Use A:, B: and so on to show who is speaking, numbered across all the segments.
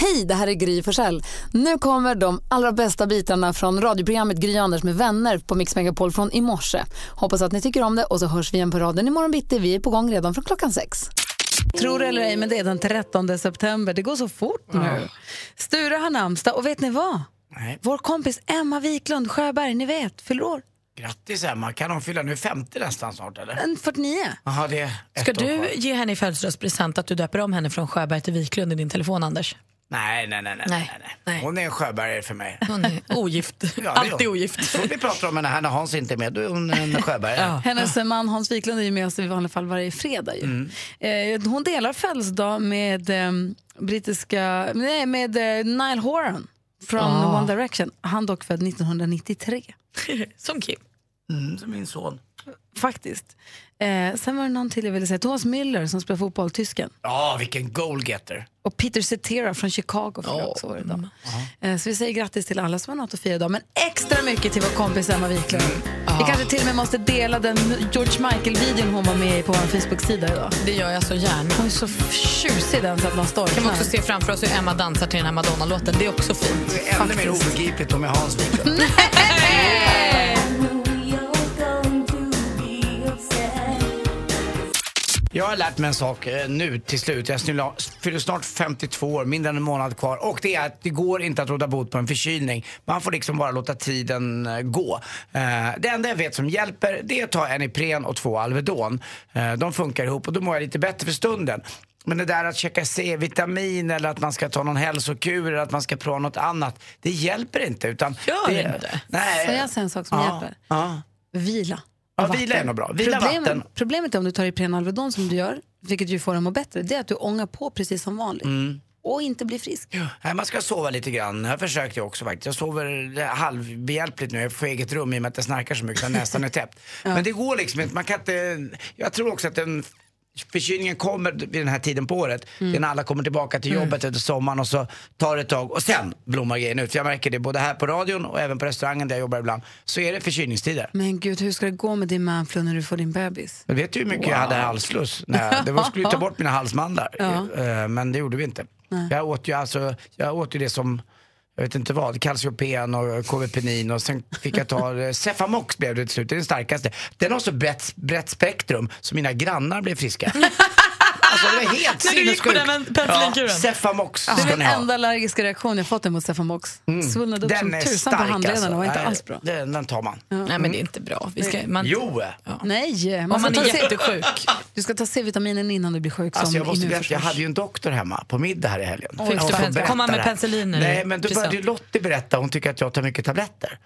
A: Hej, det här är Gry Forssell. Nu kommer de allra bästa bitarna från radioprogrammet Gry Anders med vänner på Mix Megapol från i morse. Hoppas att ni tycker om det och så hörs vi igen på raden imorgon bitti. Vi är på gång redan från klockan sex. Tror det eller ej, men det är den 13 september. Det går så fort nu. Sture har namnsdag och vet ni vad?
B: Nej.
A: Vår kompis Emma Wiklund Sjöberg, ni vet, fyller år.
B: Grattis Emma, kan hon fylla nu 50 nästan snart eller?
A: En 49.
B: Jaha, det är ett
C: Ska
B: år kvar.
C: du ge henne i födelsedagspresent att du döper om henne från Sjöberg till Wiklund i din telefon, Anders?
B: Nej, nej, nej, nej,
C: Nej,
B: nej, nej.
C: nej.
B: Hon är en sjöbergare för mig.
C: Hon är ogift.
B: Ja, det är
C: Alltid
B: hon.
C: ogift.
B: Så vi pratar om henne här när Hans inte är med, då är hon en sjöbergare.
C: Ja.
A: Hennes man Hans Wiklund är ju med oss i vanliga fall varje fredag.
C: Mm.
A: Ju. Eh, hon delar födelsedag med eh, brittiska, nej, med eh, Nile Horan från
C: Ah.
A: One Direction. Han dock född 1993,
C: Som Kim.
B: Mm, som min son.
A: faktiskt. Eh, sen var det någon till jag ville säga, Thomas Müller som spelar fotboll, tysken.
B: Ja, vilken goalgetter.
A: Och Peter Cetera från Chicago fyller också år idag.
C: Mm.
A: Eh, Så vi säger grattis till alla som har något att fira idag, men extra mycket till vår kompis Emma Wiklund.
C: Mm.
A: Vi
C: Ah.
A: kanske till och med måste dela den George Michael-videon hon var med i på vår Facebook-sida idag.
C: Det gör jag så gärna.
A: Hon är så tjusig den så att man
C: Kan
A: storknar.
C: vi också se framför oss hur Emma dansar till den här Madonna-låten. Det är också fint.
B: Det är ännu mer obegripligt om jag Hans Wiklund. Jag har lärt mig en sak eh, nu till slut. Jag snilla- fyller snart 52 år, mindre än en månad kvar. Och det är att det går inte att råda bot på en förkylning. Man får liksom bara låta tiden eh, gå. Eh, Det enda jag vet som hjälper det är att ta en Ipren och två Alvedon. Eh, De funkar ihop och då mår jag lite bättre för stunden. Men det där att checka C-vitamin eller att man ska ta någon hälsokur eller att man ska prova något annat. Det hjälper inte. Utan
C: Gör det inte.
B: Nej.
A: Får jag säga en sak som
B: ja,
A: hjälper?
B: Ja.
A: Vila.
B: Ja,
A: Och
B: vila är
A: vatten.
B: nog bra. Vila,
A: problemet,
B: vatten.
A: problemet är om du tar Ipren Alvedon som du gör, vilket ju får dig att må bättre, det är att du ångar på precis som vanligt.
B: Mm.
A: Och inte blir frisk.
B: Nej, man ska sova lite grann. Jag försökte också faktiskt. Jag sover halvbehjälpligt nu. Jag får eget rum i och med att jag snarkar så mycket så nästan är täppt. Men det går liksom inte. Man kan inte... Jag tror också att den förkylningen kommer vid den här tiden på året. Det är när alla kommer tillbaka till jobbet efter sommaren och så tar det ett tag och sen blommar grejen ut. För jag märker det både här på radion och även på restaurangen där jag jobbar ibland. Så är det förkylningstider.
A: Men gud, hur ska det gå med din manflu när du får din bebis?
B: Men vet du hur mycket jag hade halsfluss? när jag- Det var, skulle ju ta bort mina halsmandlar. Eh, Men det gjorde vi inte. Jag åt ju alltså, jag åt ju det som, jag vet inte vad, calciopen och KVPenin och sen fick jag ta eh, Cefamox blev det till slut, det är den starkaste. Den har så brett, brett spektrum så mina grannar blev friska. Alltså det var helt
C: När du gick på
B: sinnessjukt.
C: den pen- penicillinkuren.
B: Cefamox
A: Det är
B: Ah. ska
A: den
B: ni ha. Mm.
A: enda allergiska reaktion jag fått emot Cefamox. Svullnade upp som
B: Den är
A: tusan på
B: stark
A: handlederna,
B: alltså.
A: det var inte
B: Nej,
A: alls bra.
B: Den, den tar man.
C: Nej, men det är inte bra. Vi ska, man,
B: Jo!
A: Nej, man
C: Om
A: ska
C: man
A: ta
C: är
A: C-
C: jättesjuk.
A: Du ska ta C-vitaminen innan du blir sjuk
B: Alltså
A: som
B: jag, måste berätta, jag
A: immunförsvars.
B: hade ju en doktor hemma på middag här i helgen.
C: du
B: Jag måste
C: pen-
B: berätta
C: kom han med
B: det här.
C: penicilliner
B: Nej,
C: i
B: men då började ju Lottie berätta. Hon tycker att jag tar mycket tabletter.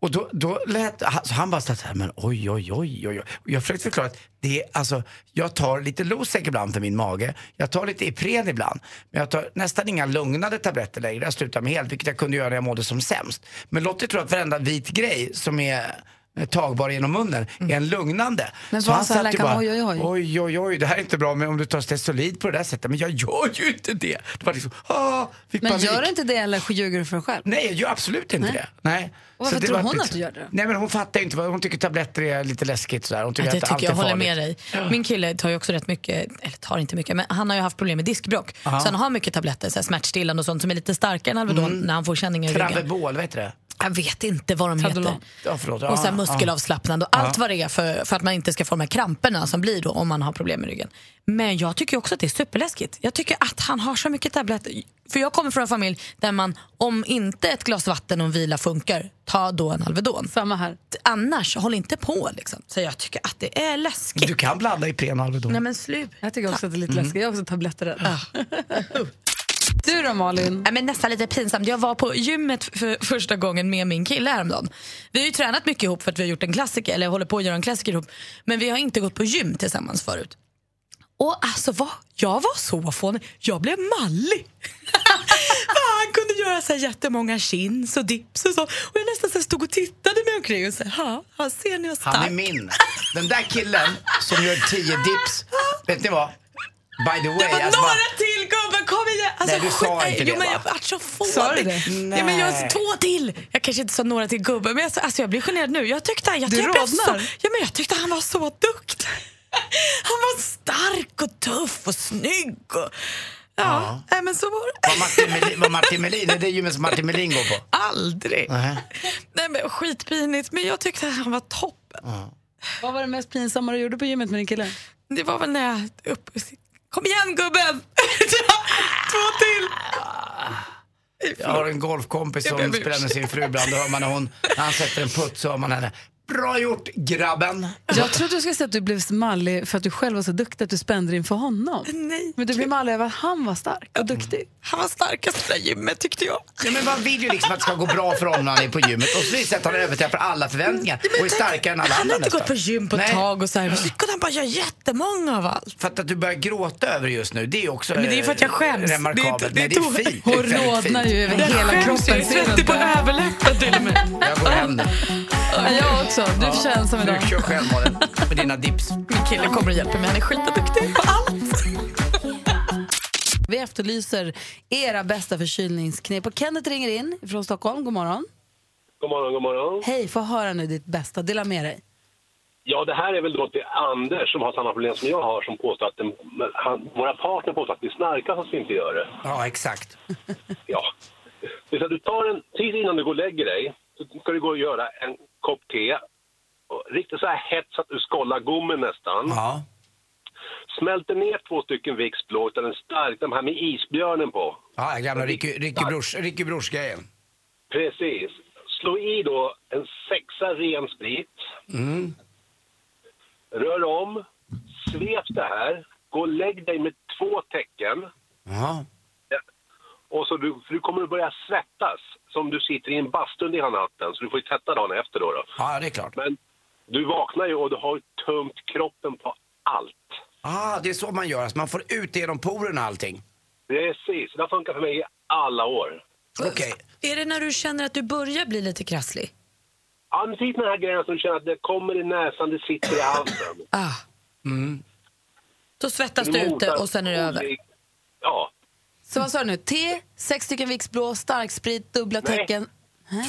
B: Och då, då lät, alltså han bara så här, men oj, oj, oj, oj. oj. Och jag försökte förklara att det är, alltså, jag tar lite Losec ibland för min mage. Jag tar lite Ipren ibland. Men jag tar nästan inga lugnande tabletter längre. Jag slutar med helt, vilket jag kunde göra när jag mådde som sämst. Men Lottie tror att varenda vit grej som är eh, tagbar genom munnen är en lugnande.
A: Mm. Men
B: Så
A: vad
B: han
A: sa
B: satt ju
A: läkaren?
B: bara,
A: Oj, oj, oj.
B: Oj, oj, oj, det här är inte bra men om du tar Stesolid på det där sättet. Men jag gör ju inte det. Det var liksom, ah, fick
A: Men
B: panik.
A: gör inte det eller ljuger du för dig själv?
B: Nej, jag gör absolut inte det. Nej.
A: Och varför
B: Så det
A: tror
B: var
A: hon
B: lite-
A: att du gör det?
B: Nej men hon fattar ju inte, vad- hon tycker tabletter är lite läskigt sådär. Hon tycker
C: Ja, det
B: att
C: tycker
B: allt
C: jag,
B: är
C: håller
B: farligt.
C: med dig. Min kille tar ju också rätt mycket, eller tar inte mycket, men han har ju haft problem med diskbråck. Så han har mycket tabletter, så här smärtstillande och sånt som är lite starkare än Alvedon
B: Mm.
C: när han får känningar i ryggen.
B: Travebol, vad heter det?
C: Jag vet inte vad de heter.
B: Ja, förlåt.
C: Och
B: Ja,
C: sen
B: ja.
C: muskelavslappnande och allt vad det är för, för att man inte ska få de här kramperna som blir då om man har problem med ryggen. Men jag tycker också att det är superläskigt. Jag tycker att han har så mycket tabletter. För jag kommer från en familj där man, om inte ett glas vatten och vila funkar, ta då en Alvedon.
A: Samma här.
C: Annars, håll inte på liksom. Så jag tycker att det är läskigt.
B: Du kan blanda Ipren och Alvedon.
C: Nej men sluta.
A: Jag tycker också att det är lite läskigt. Jag är också tabletträdd.
B: Ah.
A: du då Malin?
C: Nej, Äh, men nästan lite pinsamt. Jag var på gymmet för första gången med min kille häromdagen. Vi har ju tränat mycket ihop för att vi har gjort en klassiker, eller håller på att göra en klassiker ihop. Men vi har inte gått på gym tillsammans förut. Och alltså vad? Jag var så fånig. Jag blev mallig. För han kunde göra så här jättemånga chins och dips och så. Och jag nästan så här stod och tittade mig omkring och sa, ha, ha, ser ni vad stark
B: Han är min. Den där killen som gör tio dips Vet ni vad? By the way.
C: Det var
B: alltså,
C: några
B: bara-
C: till gubben, kom igen! Alltså,
B: Nej, du sa
C: skit-
B: inte
C: jo,
B: det,
C: men
B: va?
C: jag vart så
A: Sa du
C: fånig.
A: det?
C: Nej. men
B: Nej.
C: jag två till! Jag kanske inte sa några till gubben, men jag, sa- alltså, jag blir generad nu. Jag tyckte, jag,
A: Du
C: jag, blev så,
A: rodnar.
C: ja, men jag tyckte han var så duktig. Han var stark och tuff och snygg. Och, ja, Nej, men så var det.
B: Vad Martin Melin, vad Martin Melin, det är det gymmet som Martin Melin går på.
C: Aldrig.
B: Nej.
C: Nej, men skitpinigt, men jag tyckte han var toppen.
A: Vad var det mest pinsamma du gjorde på gymmet med din kille?
C: Det var väl när jag... Upp, kom igen gubben! två till!
B: Jag har en golfkompis som
C: Jag ber om
B: spelar med sin fru ibland. Då hör man när, hon, när han sätter en putt så hör man henne. Bra gjort grabben!
A: Jag trodde du skulle säga att du blev så mallig för att du själv var så duktig att du spände dig inför honom.
C: Nej,
A: Men du blev mallig över att han var stark och duktig.
C: Han var starkast i det där gymmet tyckte jag.
B: Ja, men man vill ju liksom att det ska gå bra för honom när han är på gymmet. Och så visar det sig att han överträffar alla förväntningar och är starkare än alla
C: Han
B: andra
C: har inte gått på gym på ett
B: Nej.
C: tag och så här. Så kunde han bara göra jättemånga av allt.
B: För att, att du börjar gråta över det just nu, det är också
C: Men det är för att jag
B: eh,
C: skäms.
B: remarkabelt.
C: Det är inte-
B: Nej,
C: det är
B: det är fint.
A: Hon
B: Det är väldigt
A: rodnar
B: fint.
A: ju över hela kroppen. ser du
C: svettig på
A: inte?
C: överläppen
B: typ.
C: till och med.
B: Jag går hem nu.
A: Ja, Jag också. Du känns ensam idag.
B: Du kör själv Malin, med dina dips.
C: Min kille kommer och hjälper mig. Han är skitduktig på allt.
A: Vi efterlyser era bästa förkylningsknep. Och Kenneth ringer in från Stockholm. God morgon.
D: God morgon, god morgon.
A: Hej, få höra nu ditt bästa. Dela med dig.
D: Ja, det här är väl då till Anders som har samma problem som jag har som påstår att den, han, våra partner påstår att vi snarkar fast vi inte gör det.
B: Ja, exakt.
D: Ja. Det är så att du tar en, precis innan du går och lägger dig, så ska du gå och göra en kopp te. Och Riktigt så här hett så att du skållar gommen nästan.
B: Ja.
D: Smälter ner två stycken Vicks blå, utan en stark, de här med isbjörnen på.
B: Ja, den gamla Ricky, Ricky, Brors, Ricky Brors-grejen.
D: Precis. Slå i då en sexa ren sprit. Rör om. Svep det här. Gå och lägg dig med två tecken.
B: Ja.
D: Och så du, för du kommer att börja svettas som du sitter i en bastu under hela natten. Så du får ju tvätta dagen efter då. då.
B: ja, det är klart.
D: Men du vaknar ju och du har tömt kroppen på allt.
B: Ah, det är så man gör, alltså, man får ut det genom porerna och allting.
D: Precis. Det har funkat för mig i alla år.
B: Okej.
C: Är det när du känner att du börjar bli lite krasslig?
D: Ja, men precis den här grejen som du känner att det kommer i näsan, det sitter i halsen.
C: Ah.
B: Mm.
C: Då svettas du ute och sen är det över.
D: Ja,
A: Så vad sa du nu? Te, sex stycken Vicks blå, starksprit, dubbla
D: Nej.
A: tecken.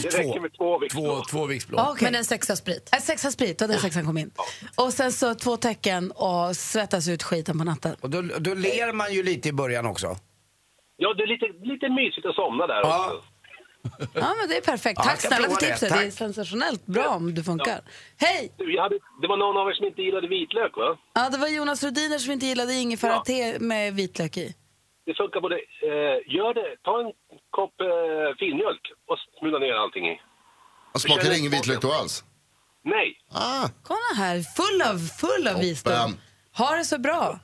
D: det räcker med två vikter.
B: Två, två Vicksblå.
A: Ah, okej.
C: Men en sexa sprit.
A: En sexa sprit, det var den sexan kom in. Och sen så två tecken och svettas ut skiten på natten.
B: Och då, då ler man ju lite i början också.
D: Ja, det är lite, lite mysigt att somna där
B: Ja.
D: också.
A: Ja, men det är perfekt.
B: Ja,
A: Tack
B: jag ska
A: snälla för
B: prova det.
A: tipset. Det,
B: Tack.
A: är sensationellt bra om du funkar. Hej!
D: Du, jag hade, det var någon av er som inte gillade vitlök, va?
A: Ja, det var Jonas Rhodiner som inte gillade ingefära
D: Ja.
A: te med vitlök i.
D: Det funkar både... Eh, gör det, ta en kopp eh, filmjölk och smula ner allting i.
E: Och smakar det ingen vitlök då alls?
D: Nej,
E: Ah,
A: Kolla här, full av, full av visdom.
E: Toppen.
A: Ha det så bra.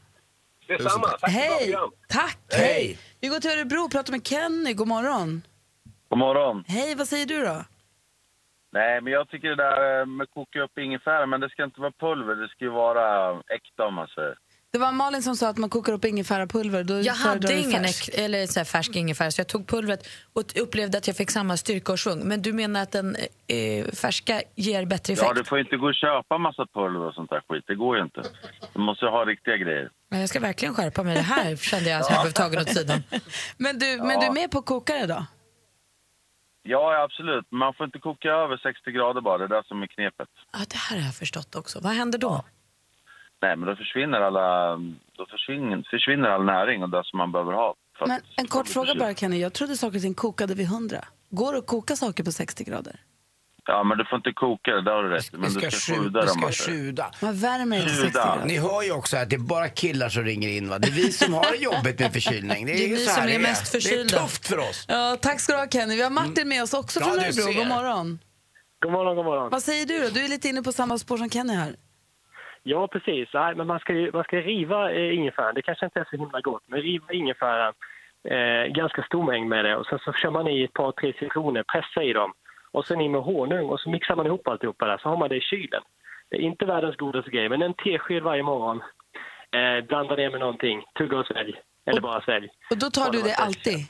D: detsamma. Tack för ett bra
A: Hej!
D: program.
A: Tack! Hej! Vi går till Örebro och pratar med Kenny. God morgon.
F: God morgon.
A: Hej, vad säger du då?
F: Nej, men jag tycker det där eh, med att koka upp ingefära, men det ska inte vara pulver, det ska ju vara äkta om man säger.
A: Det var Malin som sa att man kokar upp ingefärapulver. Då
C: Jag
A: föredrar
C: hade
A: du
C: ingen
A: färskt.
C: äk, eller så här färsk ingefära så jag tog pulvret och upplevde att jag fick samma styrka och svung. Men du menar att den eh, färska ger bättre effekt?
F: Ja, du får ju inte gå och köpa massa pulver och sånt där skit, det går ju inte. Du måste ju ha riktiga grejer.
C: Men Jag ska verkligen skärpa mig. Det här kände jag att jag blev tagen åt sidan.
A: Men du, men du är med på att koka det då?
F: Ja, absolut. Men Man får inte koka över 60 grader bara, det är det som är knepet.
C: Ja, det här har jag förstått också. Vad händer då?
F: Nej, men då försvinner alla, då försvinner, försvinner all näring och det som man behöver ha. för att-
A: Men en kort fråga bara Kenny. Jag trodde saker och ting kokade vid 100. Går det att koka saker på 60 grader?
F: Ja, men du får inte koka det, där har du rätt. Men
B: Vi
F: du ska
B: sju-
F: sjuda
B: vi
F: dem.
B: ska
F: alltså.
B: sjuda.
A: Man värmer det till 60
F: Sjuda.
A: grader.
B: Ni hör ju också att det är bara killar som ringer in va? Det är vi som har jobbet med förkylning. Det är,
C: Det är
B: ju
C: vi
B: så här
C: som är
B: det
C: mest
B: Det
C: förkylda.
B: är tufft för oss.
A: Ja, tack ska du ha Kenny. Vi har Martin med oss också
B: Ja,
A: från
B: du
A: Örebro.
B: ser.
A: God morgon.
G: God morgon, god morgon.
A: Vad säger du då? Du är lite inne på samma spår som Kenny här.
G: Ja, precis. Nej, men man ska ju man ska riva eh, ingefäran. Det kanske inte är så himla gott, men riva ingefäran. Eh, ganska stor mängd med det. Och sen så kör man i ett par, tre citroner, pressar i dem. Och sen i med honung och så mixar man ihop alltihopa där. Så har man det i kylen. Det är inte världens godaste grej, men en tesked varje morgon. Eh, blanda ner med någonting, tugga och svälj. Eller bara svälj.
A: Och då tar du det alltid?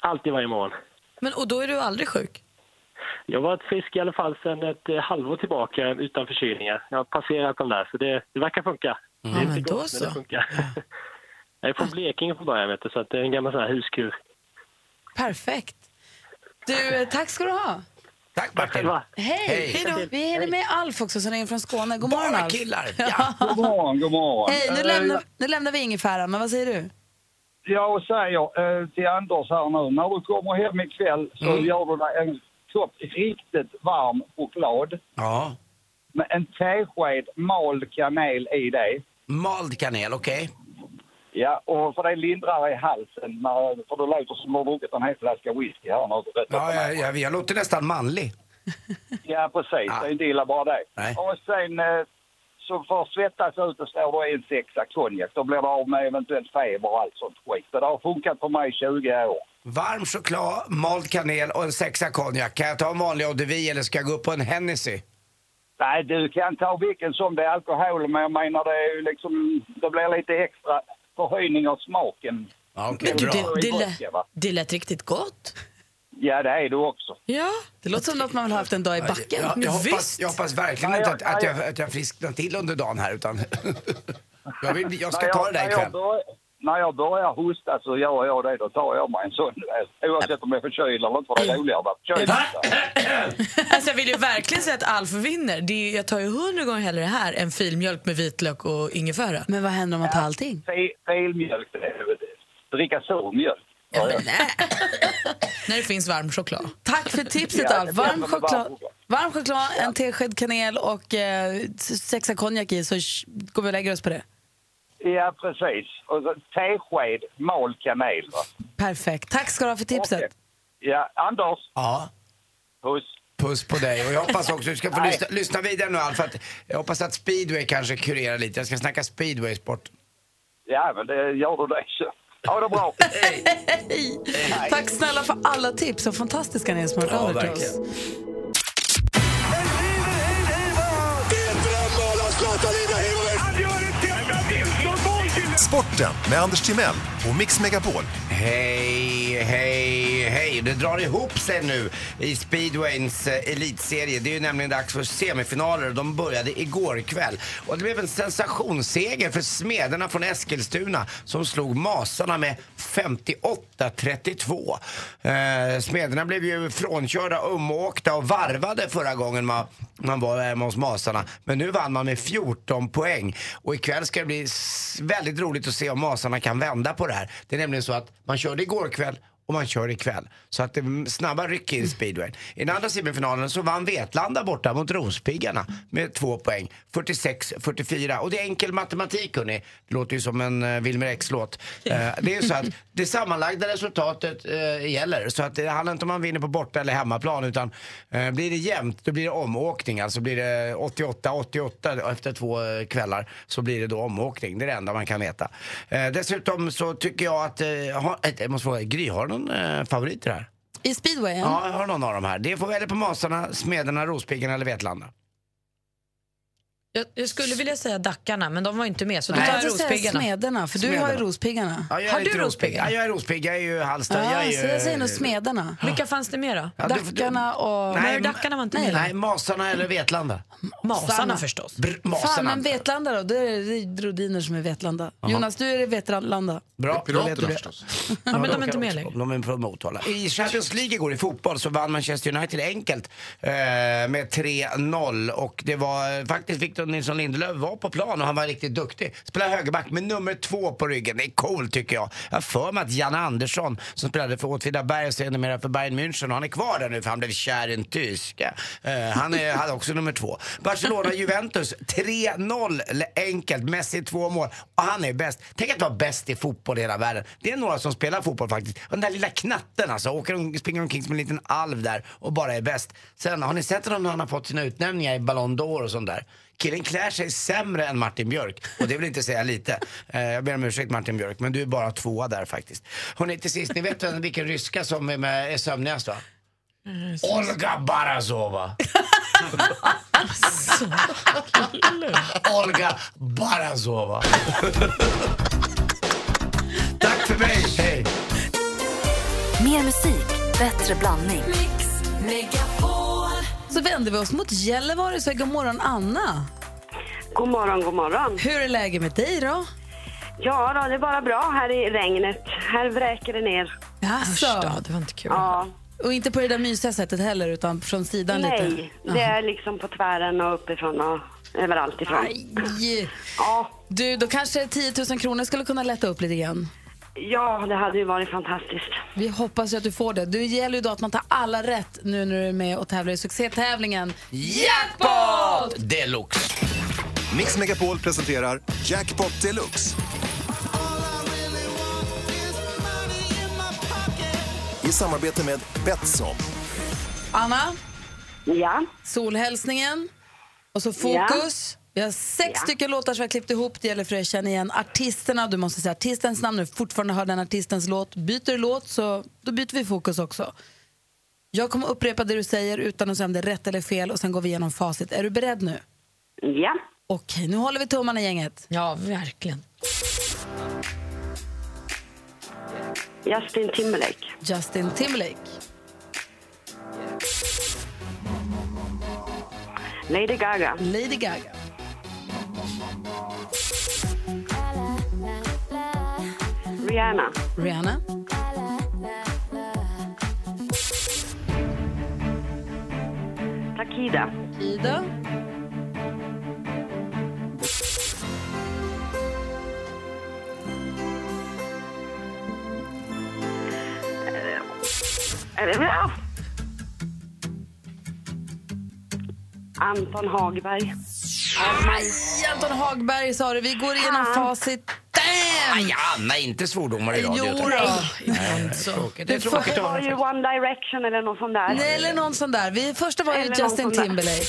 G: Alltid varje morgon.
C: Men, och då är du aldrig sjuk?
G: Jag har varit frisk i alla fall sedan ett eh, halvår tillbaka utan förkylningar. Jag har passerat dem där, så det, det verkar funka. Det är
C: Ja,
G: inte
C: men då
G: gott, men det
C: så.
G: funkar. Jag är från Blekinge från början, vet du, så att det är en gammal sån här huskur.
A: Perfekt. Du, eh, tack ska du ha.
B: Tack Martin.
A: Hej! Hej då. Vi hinner med Alf också som ringer från Skåne. God morgon Alf.
B: killar.
A: Ja.
H: God morgon, god morgon.
A: Hej, nu
H: Eh,
A: lämnar, nu lämnar vi ingefäran, men vad säger du?
H: Jag säger eh, till Anders här nu, när du kommer hem ikväll så
B: Mm.
H: gör du dig en kopp riktigt varm choklad
B: Ja.
H: med en tesked mald kanel i det.
B: Mald kanel, okej.
H: Ja, och för det lindrar i halsen, när, för du låter som du har druckit en hel flaska whisky här nu. du vet.
B: Ja, jag, jag, jag låter nästan manlig.
H: Ja, precis. Det är inte illa bara det.
B: Nej.
H: Och sen eh, så för att svettas ut och står det en sexa konjak. Då blir det av med eventuellt feber och allt sånt skit. Så det har funkat för mig i 20 år.
B: Varm choklad, mald kanel och en sexa konjak. Kan jag ta en vanlig Eau de vie eller ska jag gå upp på en Hennessy?
H: Nej, du kan ta vilken som det är alkohol, men jag menar det är ju liksom, det blir lite extra förhöjning av smaken.
B: Ja,
C: Men du, det, det, lät, det lät riktigt gott.
H: Ja, det är du också.
C: Ja.
A: Det låter som något man vill ha haft en dag i backen.
B: Jag, jag, hoppas, jag hoppas verkligen
H: Nej,
B: inte
H: jag-
B: att, att,
H: nej,
B: jag, att jag frisknar till under dagen här utan... jag, vill, jag ska
H: När
B: ta det där
H: när jag
B: ikväll.
H: börjar- När jag börjar hosta så gör jag det, då tar jag mig en sån. Oavsett om jag är förkyld eller inte, för det är roligare att vara förkyld.
C: Alltså jag vill ju verkligen säga att Alf vinner. Det är, ju- jag tar ju hundra gånger hellre det här än filmjölk med vitlök och ingefära.
A: Men vad händer om man tar allting?
H: Fel- Felmjölk, det är väl det. dricka surmjölk.
C: När det finns varm choklad.
A: Tack för tipset
C: Ja,
A: Alf.
C: det blir
A: Varm
C: jättebra.
A: choklad, varm choklad en tesked kanel och eh, s- sexa konjak i så sh- går vi och lägger oss på det.
H: Ja, precis. Och så tesked mald kanel. Va?
A: Perfekt. Tack ska du ha för tipset.
H: Ja, Anders.
B: Ja.
H: Puss.
B: Puss på dig. Och jag hoppas också, du ska få
H: Nej.
B: lyssna, lyssna vidare nu Alf, för att jag hoppas att speedway kanske kurerar lite. Jag ska snacka speedway-sport.
H: Ja, men det gör du det. så. Ha det bra.
A: Hej. Tack snälla för alla tips och fantastiska ni är som har
B: Ja,
A: hört över till
B: verkligen.
A: oss.
I: Sporten med Anders Timell och Mix Megapol.
B: Hej, hej, hej. Det drar ihop sig nu i speedwayns eh, elitserie. Det är ju nämligen dags för semifinaler och de började igår kväll. Och det blev en sensationsseger för smederna från Eskilstuna som slog Masarna med 58-32. Eh, smederna blev ju frånkörda, umåkta och varvade förra gången man, man var hemma hos Masarna. Men nu vann man med 14 poäng. Och ikväll ska det bli s- väldigt roligt att se om Masarna kan vända på det här. Det är nämligen så att man körde igår kväll och man kör ikväll. Så att det är snabba ryck i speedwayn. I den andra semifinalen så vann Vetlanda borta mot Rospiggarna med två poäng. 46-44. Och det är enkel matematik hörni. Det låter ju som en uh, Wilmer X-låt. Eh, det är ju så att det sammanlagda resultatet eh, gäller. Så att det handlar inte om man vinner på borta eller hemmaplan utan eh, blir det jämnt då blir det omåkning. Alltså blir det 88-88 och efter två eh, kvällar så blir det då omåkning. Det är det enda man kan veta. Eh, dessutom så tycker jag att, eh, ha, ett- jag måste fråga, Gry har du någon eh, favorit i det här?
A: I speedwayen?
B: Ja, jag har någon av dem här. Det får välja på Masarna, Smederna, Rospiggarna eller Vetlanda.
C: Jag, jag skulle vilja säga Dackarna, men de var inte med så då
A: Nej.
C: tar
A: Jag
C: jag
A: tänkte säga
C: Rospiggarna.
A: smederna, för du har ju
B: Smederna.
A: rospiggarna.
B: Ja, jag är
A: har
B: lite
A: du
B: rospigg. Ja, jag är rospigg. Jag är ju Hallsta.
A: Ja,
B: jag är ju...
A: så jag säger nog smederna.
C: Vilka fanns det mer då?
B: Ja, du- du-
A: Dackarna och...
B: men- nej, nej, Masarna eller
C: Mm.
B: Vetlanda.
A: Masarna
C: förstås.
B: Br-
A: Fan,
B: masarna.
A: men Vetlanda då? Det är det är Rodiner som är Vetlanda. Jonas, du är Vetlanda.
B: Bra,
E: Piraterna
B: då vet du det.
E: förstås.
C: Ja, men de är inte med
B: också. De är från Motala. I Champions League igår i fotboll så vann Manchester United enkelt eh, med 3-0. Och det var eh, faktiskt Victor Nilsson Lindelöf var på plan och han var riktigt duktig. Spelade högerback med nummer två på ryggen. Det är cool tycker jag. Jag har för mig att Janne Andersson som spelade för Åtvidaberg och sedermera för Bayern München, och han är kvar där nu för han blev kär i en tyska. Eh, han är, hade också nummer två. Barcelona-Juventus 3-0 enkelt. Messi två mål. Och han är bäst. Tänk att vara bäst i fotboll i hela världen. Det är några som spelar fotboll faktiskt. Och den där lilla knatten alltså. Åker om, springer omkring som en liten alv där och bara är bäst. Sen har ni sett honom när han har fått sina utnämningar i Ballon d'Or och sånt där? Killen klär sig sämre än Martin Björk och det vill inte säga lite. Eh, jag ber om ursäkt Martin Björk men du är bara tvåa där faktiskt. Hörrni till sist, ni vet vem, vilken ryska som är, med, är sömnigast va? Olga Barazova. Olga Barazova. Tack för mig, hej!
J: Mer musik, bättre blandning.
A: Så vänder vi oss mot Gällivare och säger god morgon Anna.
K: God morgon, god morgon.
A: Hur är läget med dig då?
K: Ja då, det är bara bra här i regnet. Här vräker det ner. Alltså.
A: Jaså? det var inte kul.
K: Ja.
A: Och inte på det där mysiga sättet heller, utan från sidan lite?
K: Nej, det
A: Jaha.
K: är liksom på tvären och uppifrån och överallt ifrån.
A: Aj. Du, då kanske 10 000 kronor skulle kunna lätta upp lite grann.
K: Ja, det hade ju varit fantastiskt.
A: Vi hoppas ju att du får det. Det gäller ju då att man tar alla rätt nu när du är med och tävlar i succétävlingen Jackpot!
B: Deluxe.
I: Mix Megapol presenterar Jackpot Deluxe. I samarbete med Betsson.
A: Anna?
K: Ja?
A: Solhälsningen. Och så
K: Ja.
A: fokus. Vi har sex
K: Ja.
A: stycken låtar som vi har klippt ihop. Det gäller för dig att känna igen artisterna. Du måste säga artistens namn när du fortfarande hör den artistens låt. Byter du låt så då byter vi fokus också. Jag kommer upprepa det du säger utan att säga om det är rätt eller fel och sen går vi igenom facit. Är du beredd nu?
K: Ja.
A: Okej, nu håller vi tummarna gänget.
C: Ja, verkligen.
K: Justin Timberlake.
A: Justin Timberlake.
K: Lady Gaga.
A: Lady Gaga.
K: Rihanna.
A: Rihanna.
K: Takida.
A: Ida.
K: Eh, ja. Anton Hagberg.
A: Aj, Anton Hagberg sa du. Vi går igenom facit. Damn!
B: Aj, Anna är inte svordomare idag. det är
A: Jo
B: utan-
A: då.
B: Nej, det är Eh, tråkigt. Det är
A: Du får-
B: tråkigt att
K: Det var
B: höra.
K: ju One Direction eller någon sån där.
A: Nej, eller någon sån där. Vi, första var ju
K: Eller någon
A: Justin
K: sån där.
A: Timberlake.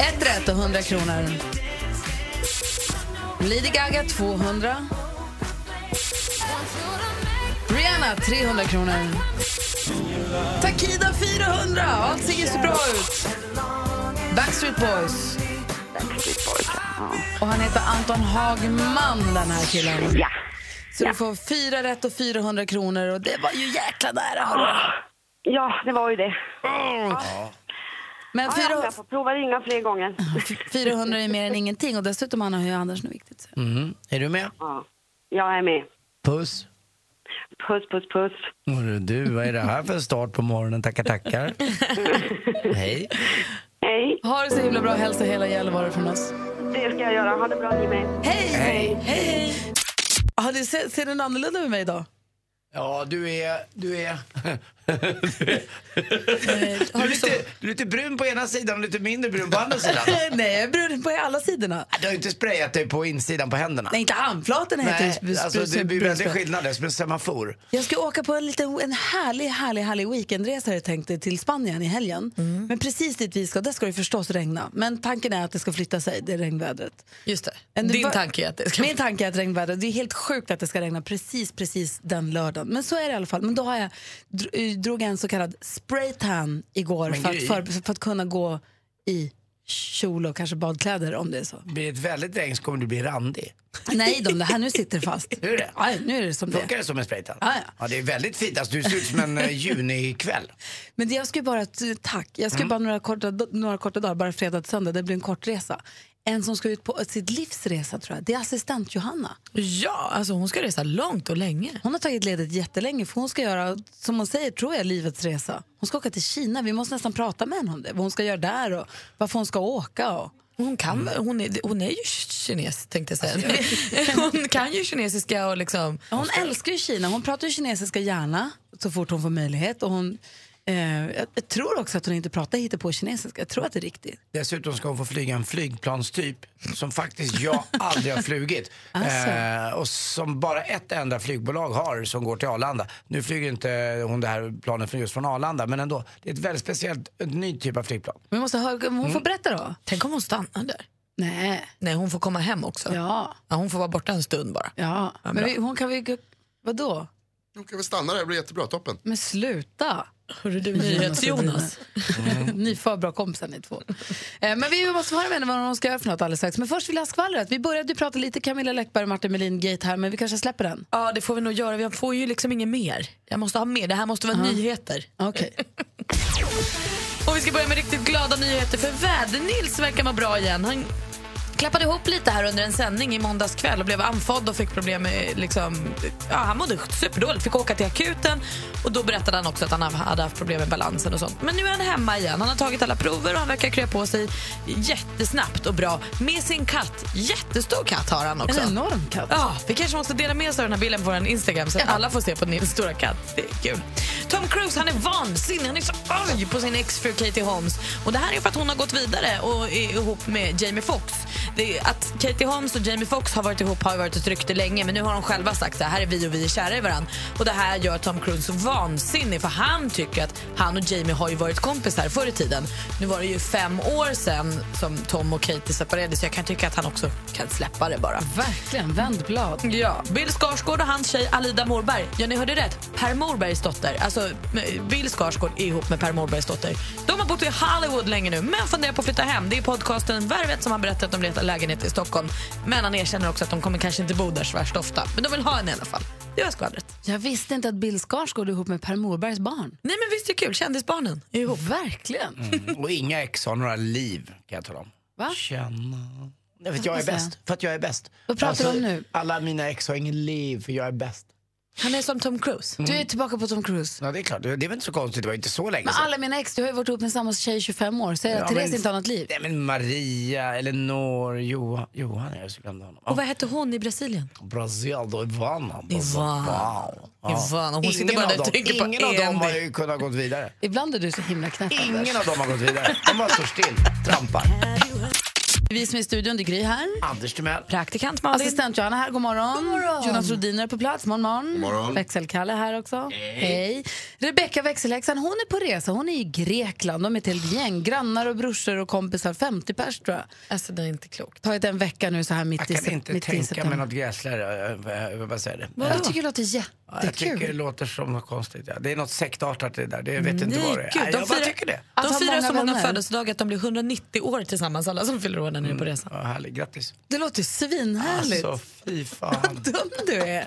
A: Ett rätt och 100 kronor. Lady Gaga 200. Rihanna 300 kronor. Takida 400. Allt ser ju så bra ut. Backstreet Boys. Och han heter Anton Hagman, den här killen.
K: Ja.
A: Så du får fyra rätt och 400 kronor och det var ju jäkla nära. hörru.
K: Ja, det var ju det.
A: Men
K: Ja,
A: fyra-
K: ja, jag får prova ringa fler gånger.
A: 400 är mer än ingenting och dessutom Anna har ju Anders nu viktigt.
B: Mm. Är du med?
K: Ja, jag är med.
B: Puss.
K: Puss, puss, puss.
B: Hörru, Du, vad är det här för start på morgonen? Tackar, tackar. Hej.
K: Hej.
A: Ha det så himla bra. Hälsa hela Gällivare från oss.
K: Det ska jag göra. Ha det bra ni med.
A: Hej!
B: Hej.
A: Hej! Eh, Ah, du ser, ser den annorlunda ut med mig idag?
B: Ja, du är... Du är... Eh, du, är lite, du är lite brun på ena sidan och lite mindre brun på andra sidan.
A: Nej, jag är brun på alla sidorna.
B: Du har ju inte sprayat dig på insidan på händerna.
A: Nej, inte handflaten heter det. typ
B: Nej,
A: Sp-
B: alltså
A: sp-
B: det blir väldigt
A: brunspray.
B: skillnad. Det är som en semafor.
A: Jag ska åka på en, liten, en härlig, härlig, härlig weekendresa jag tänkte till Spanien i helgen. Men precis dit vi ska, där ska det förstås regna. Men tanken är att det ska flytta sig, det regnvädret.
C: Just det. Din tanke är att det ska-
A: Min tanke är att regnvädret, det är helt sjukt att det ska regna precis, precis den lördagen. Men så är det i alla fall. Men då har jag, dr- eh, drog jag en så kallad spraytan igår
B: Men
A: för att,
B: Gry.
A: för, för att kunna gå i kjol och kanske badkläder om det är så.
B: Blir det ett väldigt regn så kommer du bli randig.
A: Nej då, det här nu sitter det fast.
B: Hur är det?
A: Aj, nu är det som det är.
B: Funkar det som en spraytan?
A: Ja, ja.
B: det är väldigt fint. Alltså, du ser ut som en eh, junikväll.
A: Men det- jag ska ju bara, t- tack, jag ska ju
B: Mm.
A: bara några korta, några korta dagar, bara fredag till söndag, det blir en kort resa. En som ska ut på sitt livs resa tror jag, det är assistent Johanna.
C: Ja, alltså hon ska resa långt och länge.
A: Hon har tagit ledigt jättelänge för hon ska göra, som hon säger tror jag, livets resa. Hon ska åka till Kina, vi måste nästan prata med henne om det, vad hon ska göra där och varför hon ska åka. Och.
C: Hon
A: Mm.
C: kan, hon är, hon är ju kines tänkte jag
A: Alltså,
C: säga. hon kan ju kinesiska och liksom...
A: Hon älskar ju Kina, hon pratar ju kinesiska gärna så fort hon får möjlighet. Och hon, eh, jag- jag tror också att hon inte pratar hittepå kinesiska, jag tror att det är riktigt.
B: Dessutom ska hon få flyga en flygplanstyp som faktiskt jag aldrig har flugit.
A: Alltså.
B: Eh, och som bara ett enda flygbolag har som går till Arlanda. Nu flyger inte hon det här planet från- just från Arlanda men ändå. Det är ett väldigt speciellt, en ny typ av flygplan.
A: Men vi måste höra, hon får
B: Mm.
A: berätta då.
C: Tänk om hon stannar där?
A: Nej.
C: Nej, hon får komma hem också.
A: Ja.
C: hon får vara borta en stund bara.
A: Ja, men
C: bra.
A: vi, hon kan vi, vadå?
E: Då kan vi stanna där, det blir jättebra. Toppen.
A: Men sluta!
C: Hörru du, NyhetsJonas. Mm.
A: Ni är för bra kompisar ni två. Eh, men vi måste höra med henne vad hon ska göra för något alldeles strax. Men först vill jag ha skvallret. Vi började ju prata lite Camilla Läckberg och Martin Melin-gate här, men vi kanske släpper den.
C: Ja, det får vi nog göra. Jag får ju liksom inget mer. Jag måste ha mer. Det här måste vara nyheter.
A: Okej.
C: Och vi ska börja med riktigt glada nyheter för väder-Nils verkar vara bra igen. Han klappade ihop lite här under en sändning i måndags kväll och blev andfådd och fick problem med... Liksom, ja, han mådde superdåligt, fick åka till akuten. Och Då berättade han också att han hade haft problem med balansen. och sånt. Men nu är han hemma igen. Han har tagit alla prover och han verkar krya på sig jättesnabbt och bra med sin katt. Jättestor katt har han också.
A: En enorm katt.
C: Ja, vi kanske måste dela med oss av den här bilden på vår Instagram så att alla får se på Nils stora katt. Det är kul. Tom Cruise han är vansinnig. Han är så arg på sin exfru Katie Holmes. Och Det här är för att hon har gått vidare och är ihop med Jamie Foxx. Det är Att Katie Holmes och Jamie Foxx har varit ihop har ju varit ett rykte länge men nu har de själva sagt att här är vi och vi är kära i varandra. Och Det här gör Tom Cruise så vansinnig för han tycker att han och Jamie har ju varit kompisar förr i tiden. Nu var det ju fem år sedan som Tom och Katie separerade så jag kan tycka att han också kan släppa det bara.
A: Verkligen, vändblad.
C: Ja, Bill Skarsgård och hans tjej Alida Morberg. Ja, ni hörde rätt. Per Morbergs dotter. Alltså, Bill Skarsgård är ihop med Per Morbergs dotter. De har bott i Hollywood länge nu, men funderar på att flytta hem. Det är podcasten Värvet som har berättat att de letar lägenhet i Stockholm. Men han erkänner också att de kommer kanske inte bo där så värst ofta. Men de vill ha en i alla fall. Det var skvallret.
A: Jag visste inte att Bill Skarsgård är ihop med Per Morbergs barn.
C: Nej, men visst är det kul? Kändisbarnen är ihop.
A: Verkligen.
B: Mm. Och inga ex har några liv, kan jag tala om.
C: Mm.
A: Va?
B: Känna. Nej, för att jag
A: Vad
B: är
A: säger
B: bäst. För att jag är bäst. Alltså,
A: Vad pratar du om nu?
B: Alla mina ex har inget liv, för jag är bäst.
C: Han är som Tom Cruise.
A: Du är tillbaka på Tom Cruise.
B: Ja, det är klart. Det är väl inte så konstigt. Det var ju inte så länge
A: Men
B: sedan.
A: alla mina ex, du har ju varit ihop med samma tjej i 25 år. Säger
B: Ja,
A: att Therese
B: men-
A: inte har något liv.
B: Nej, men Maria, Eleanor, Johan. Johan är jag så glömde honom.
C: Och vad hette hon i Brasilien?
B: Brasil, då Ivana. alltså.
C: Ivana.
B: Wow. Ja.
C: Ivana, hon
B: ingen
C: sitter bara
B: av
C: där och
B: dem-
C: tänker på
B: Ingen av dem
C: en
B: har
C: bild.
B: ju kunnat gått vidare.
A: Ibland är du så himla knäpp. Anders.
B: Ingen av dem har gått vidare. De bara står still, trampar.
A: Vi som är i studion, det är Gry här.
B: Anders Timell.
C: Praktikant
A: Assistent Johanna här, god morgon. Jonas Rhodiner är på plats, morgon, morgon.
B: God morgon.
A: Växelkalle här också. Hej. Rebecka växelhäxan, hon är på resa. Hon är i Grekland. De är till ett gäng, grannar och brorsor och kompisar. 50 pers tror jag.
C: Alltså det är inte klokt.
A: Tagit en vecka nu så här mitt
B: Jag
A: i
B: kan
A: sep-
B: inte
A: mitt i
B: tänka mig
A: september.
B: något gräsligare. eh, eh, Vad säger du?
A: Jag tycker det låter
B: Ja, Jag tycker det
A: jättekul.
B: låter som något konstigt. Ja. Det är något sektartat i det där. Det jag vet inte
C: Nej,
B: vad det är.
C: gud,
B: Nej,
C: de
B: jag bara
C: firar-
B: tycker det.
A: Att
C: De
A: ha
C: firar
A: många
C: så många
A: vänner.
C: födelsedagar att de blir 190 år tillsammans, alla som fyller år när ni är på resan.
B: Ja, härligt. Grattis.
A: Det låter svinhärligt.
B: Alltså, fy fan.
A: dum du är.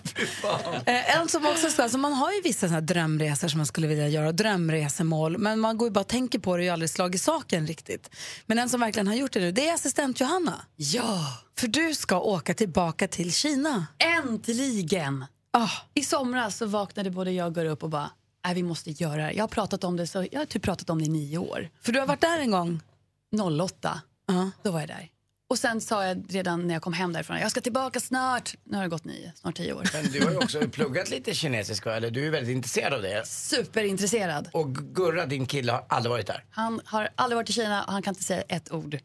A: Eh, En som också ska, alltså man har ju vissa såna här drömresor som man skulle vilja göra, drömresemål, men man går ju bara och tänker på det och har aldrig slagit saken riktigt. Men en som verkligen har gjort det nu, det är assistent Johanna.
L: Ja.
A: För du ska åka tillbaka till Kina. Ah.
L: Äntligen! I somras så vaknade både jag och Gurra upp och bara, nej vi måste göra det här." Jag har pratat om det så jag har typ pratat om det i nio år.
A: För du har varit där en gång?
L: 08, då var jag där. Och sen sa jag redan när jag kom hem därifrån, jag ska tillbaka snart. Nu har det gått nio, snart tio år.
B: Men du har ju också pluggat lite kinesiska, eller du är väldigt intresserad av det.
L: Superintresserad.
B: Och Gurra, din kille, har aldrig varit där.
L: Han har aldrig varit i Kina och han kan inte säga ett ord.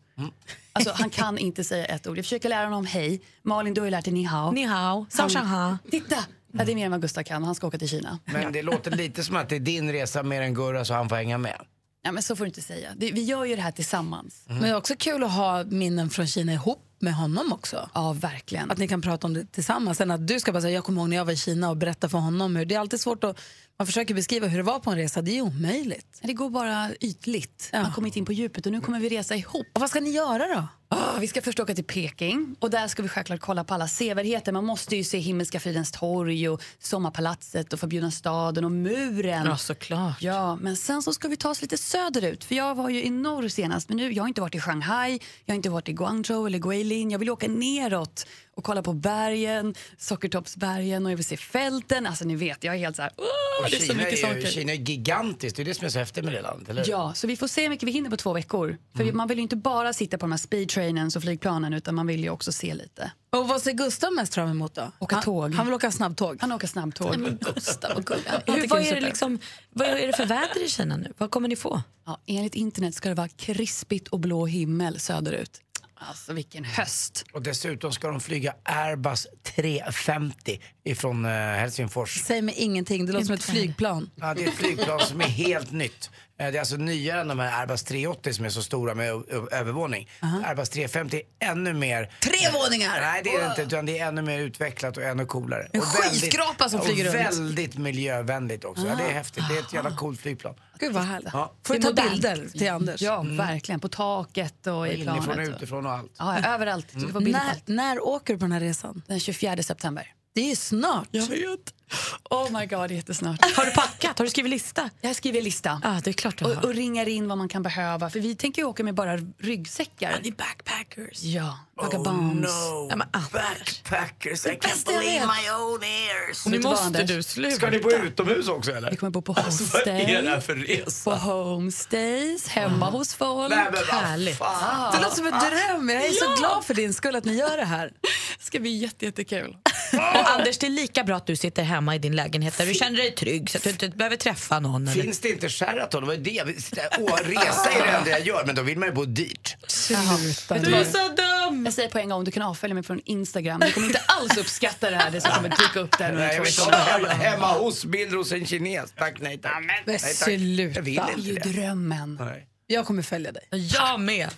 L: Alltså han kan inte säga ett ord. Jag försöker lära honom hej. Malin, du har ju lärt dig ni hao.
C: Ni hao,
L: Han-
C: Sasha
L: Titta! Ja, det är mer än vad Gustav kan och han ska åka till Kina.
B: Men det låter lite som att det är din resa mer än Gurra, så han får hänga med.
L: Ja, men så får du inte säga. Det, vi gör ju det här tillsammans.
A: Men det är också kul att ha minnen från Kina ihop med honom också.
L: Ja, verkligen.
A: Att ni kan prata om det tillsammans. Sen att du ska bara säga, jag kommer ihåg när jag var i Kina och berätta för honom hur, det är alltid svårt att, man försöker beskriva hur det var på en resa, det är ju omöjligt.
L: Det går bara ytligt. Man har kommit in på djupet och nu kommer vi resa ihop.
A: Och vad ska ni göra då?
L: Ah, vi ska först åka till Peking och där ska vi självklart kolla på alla sevärdheter. Man måste ju se Himmelska fridens torg och Sommarpalatset och Förbjudna staden och muren.
C: Ja, såklart.
L: Ja, men sen så ska vi ta oss lite söderut. För jag var ju i norr senast, men nu, jag har inte varit i Shanghai, jag har inte varit i Guangzhou eller Guilin. Jag vill åka neråt och kolla på bergen, Sockertoppsbergen och jag vill se fälten. Alltså ni vet, jag är helt så här, åh,
B: Och
L: det är så
B: Kina,
L: mycket
B: är ju,
L: saker.
B: Kina är gigantiskt, det är det som är så häftigt med det landet, eller hur?
L: Ja, så vi får se hur mycket vi hinner på två veckor. För man vill ju inte bara sitta på de här speedtrainens och flygplanen utan man vill ju också se lite.
A: Och vad ser Gustav mest fram emot då?
L: Åka
A: han,
L: tåg.
A: Han vill åka snabbtåg.
L: Han åker snabbtåg. Men Gustav, vad gullig han
C: Hur,
L: tycker
C: vad,
L: det är
C: är det
L: super.
C: liksom, vad är det för väder i Kina nu? Vad kommer ni få?
L: Ja, enligt internet ska det vara krispigt och blå himmel söderut. Alltså vilken höst.
B: Och dessutom ska de flyga Airbus 350 ifrån eh, Helsingfors.
A: Säg mig ingenting, det låter som ett flygplan.
B: Ja, det är ett flygplan som är helt nytt. Eh, Det är alltså nyare än de här Airbus 380 som är så stora med ö- ö- övervåning. Airbus 350 är ännu mer...
A: Tre våningar!
B: Nej, det är det inte. Utan det är ännu mer utvecklat och ännu coolare.
A: En
B: Och väldigt-
A: skyskrapa som flyger
B: och
A: runt.
B: väldigt miljövänligt också. Ja, det är häftigt. Det är ett jävla coolt flygplan.
A: Gud vad härligt.
B: Ja.
A: Får du
L: Det är
A: ta
L: modernt.
A: bilder till Anders?
L: Ja, verkligen. På taket och i
B: Inifrån och
L: planet.
B: utifrån och allt.
C: Mm.
L: Ja, överallt. Du ska få bild på
A: När,
L: allt.
A: när åker du på den här resan?
L: Den 24 september.
A: Det är snart.
L: Jag vet. Oh my god, jättesnart.
C: Har du packat? Har du skrivit lista?
L: Jag skriver lista.
C: Ja, det är klart du
L: Och,
C: har.
L: och ringer in vad man kan behöva. För vi tänker ju åka med bara ryggsäckar.
C: Ni backpackers.
L: Ja, vagabonds.
C: Ja, men, ah.
B: Backpackers, Oh, I
C: bästa jag vet.
B: own ears.
L: Nu måste du sluta.
B: Ska ni bo utomhus också eller?
L: Vi kommer bo på
B: Alltså, vad är det här
L: homestay.
B: för resa?
L: På homestays, hemma hos folk.
B: Nej, men vad
L: Härligt.
B: fan.
A: Det låter som en dröm. Jag är så glad för din skull att ni gör det här.
L: Det ska bli jätte, jättekul.
C: Och Anders, det är lika bra att du sitter hemma i din lägenhet där du känner dig trygg så att du inte behöver träffa någon. Eller?
B: Finns det inte Sheraton? Det var ju det. jag visste. Åh, resa är det enda jag gör, men då vill man ju bo dyrt.
L: Sluta
B: Du är
L: så dum! Jag säger på en gång, du kan avfölja mig från Instagram. Du kommer inte alls uppskatta det här, det som kommer dyka upp där. om
B: Nej, jag
L: två
B: vill inte
L: veckor.
B: ha hem, hemma hos bilder hos en kines. Tack, nej tack. nej, tack.
A: sluta.
B: Jag vill
L: Det är ju
B: inte det.
L: drömmen.
B: Nej.
A: Jag kommer följa dig.
C: Jag med.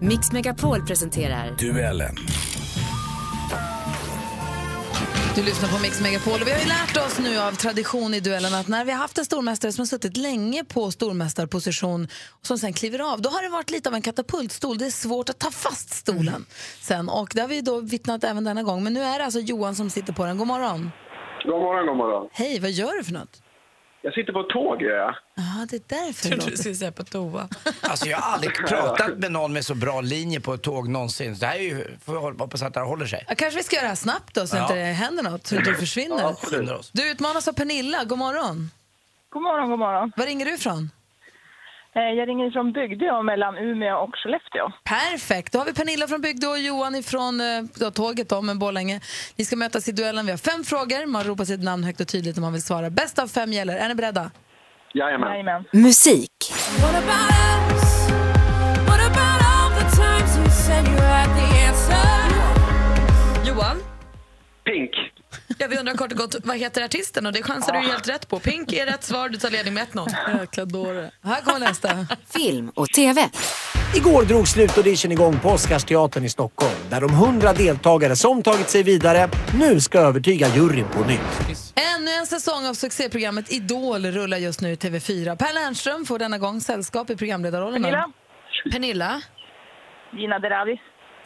J: Mix Megapol presenterar...
M: Duellen.
A: Du lyssnar på Mix Megapol och vi har ju lärt oss nu av tradition i duellen att när vi har haft en stormästare som har suttit länge på stormästarposition och som sen kliver av, då har det varit lite av en katapultstol. Det är svårt att ta fast stolen sen och det har vi då vittnat även denna gång. Men nu är det alltså Johan som sitter på den. God morgon!
N: God morgon, god morgon.
A: Hej, vad gör du för något?
N: Jag sitter på ett tåg, gör jag.
A: Ja, det är därför det
C: Trodde du
A: låter.
C: skulle säga på toa.
B: Alltså jag har aldrig pratat med någon med så bra linje på ett tåg någonsin. Så det här är ju, får vi hålla- hoppas att det här håller sig.
A: Ja, kanske vi ska göra det här snabbt då så
B: Ja.
A: att det händer något, så att du försvinner.
B: Ja, skyndar oss.
A: du utmanas av Pernilla. God morgon!
O: God morgon, god morgon.
A: Var ringer du ifrån?
O: Eh, Jag ringer från Bygdeå mellan Umeå och Skellefteå.
A: Perfekt. Då har vi Pernilla från Bygdå och Johan från eh, tåget om en Borlänge. Ni ska mötas i duellen. Vi har fem frågor. Man ropar sitt namn högt och tydligt om man vill svara. Bäst av fem gäller. Är ni beredda?
N: Jajamän.
O: Jajamän.
J: Musik.
P: What about us? What about all the times you said you had the answer?
C: Johan?
N: Pink.
C: Ja, vi undrar kort och gott, vad heter artisten? Och det chansar du ju helt rätt på. Pink är rätt svar, du tar ledning med 1-0.
A: Jäkla dåre. Här kommer nästa.
J: Film och TV.
Q: Igår drog slutaudition igång på Oscarsteatern i Stockholm där de 100 deltagare som tagit sig vidare nu ska övertyga juryn på nytt.
A: Ännu en säsong av succéprogrammet Idol rullar just nu i TV4. Per Lernström får denna gång sällskap i programledarrollen.
O: Pernilla?
C: Pernilla?
O: Gina Dirawi.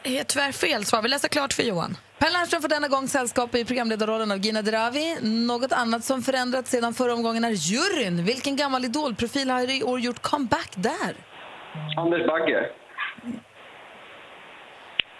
C: Är tyvärr fel svar. Vi läser klart för Johan.
A: Per Lernström får denna gång sällskap i programledarrollen av Gina Dirawi. Något annat som förändrats sedan förra omgången är juryn. Vilken gammal idolprofil har i år gjort comeback där?
N: Anders Bagge.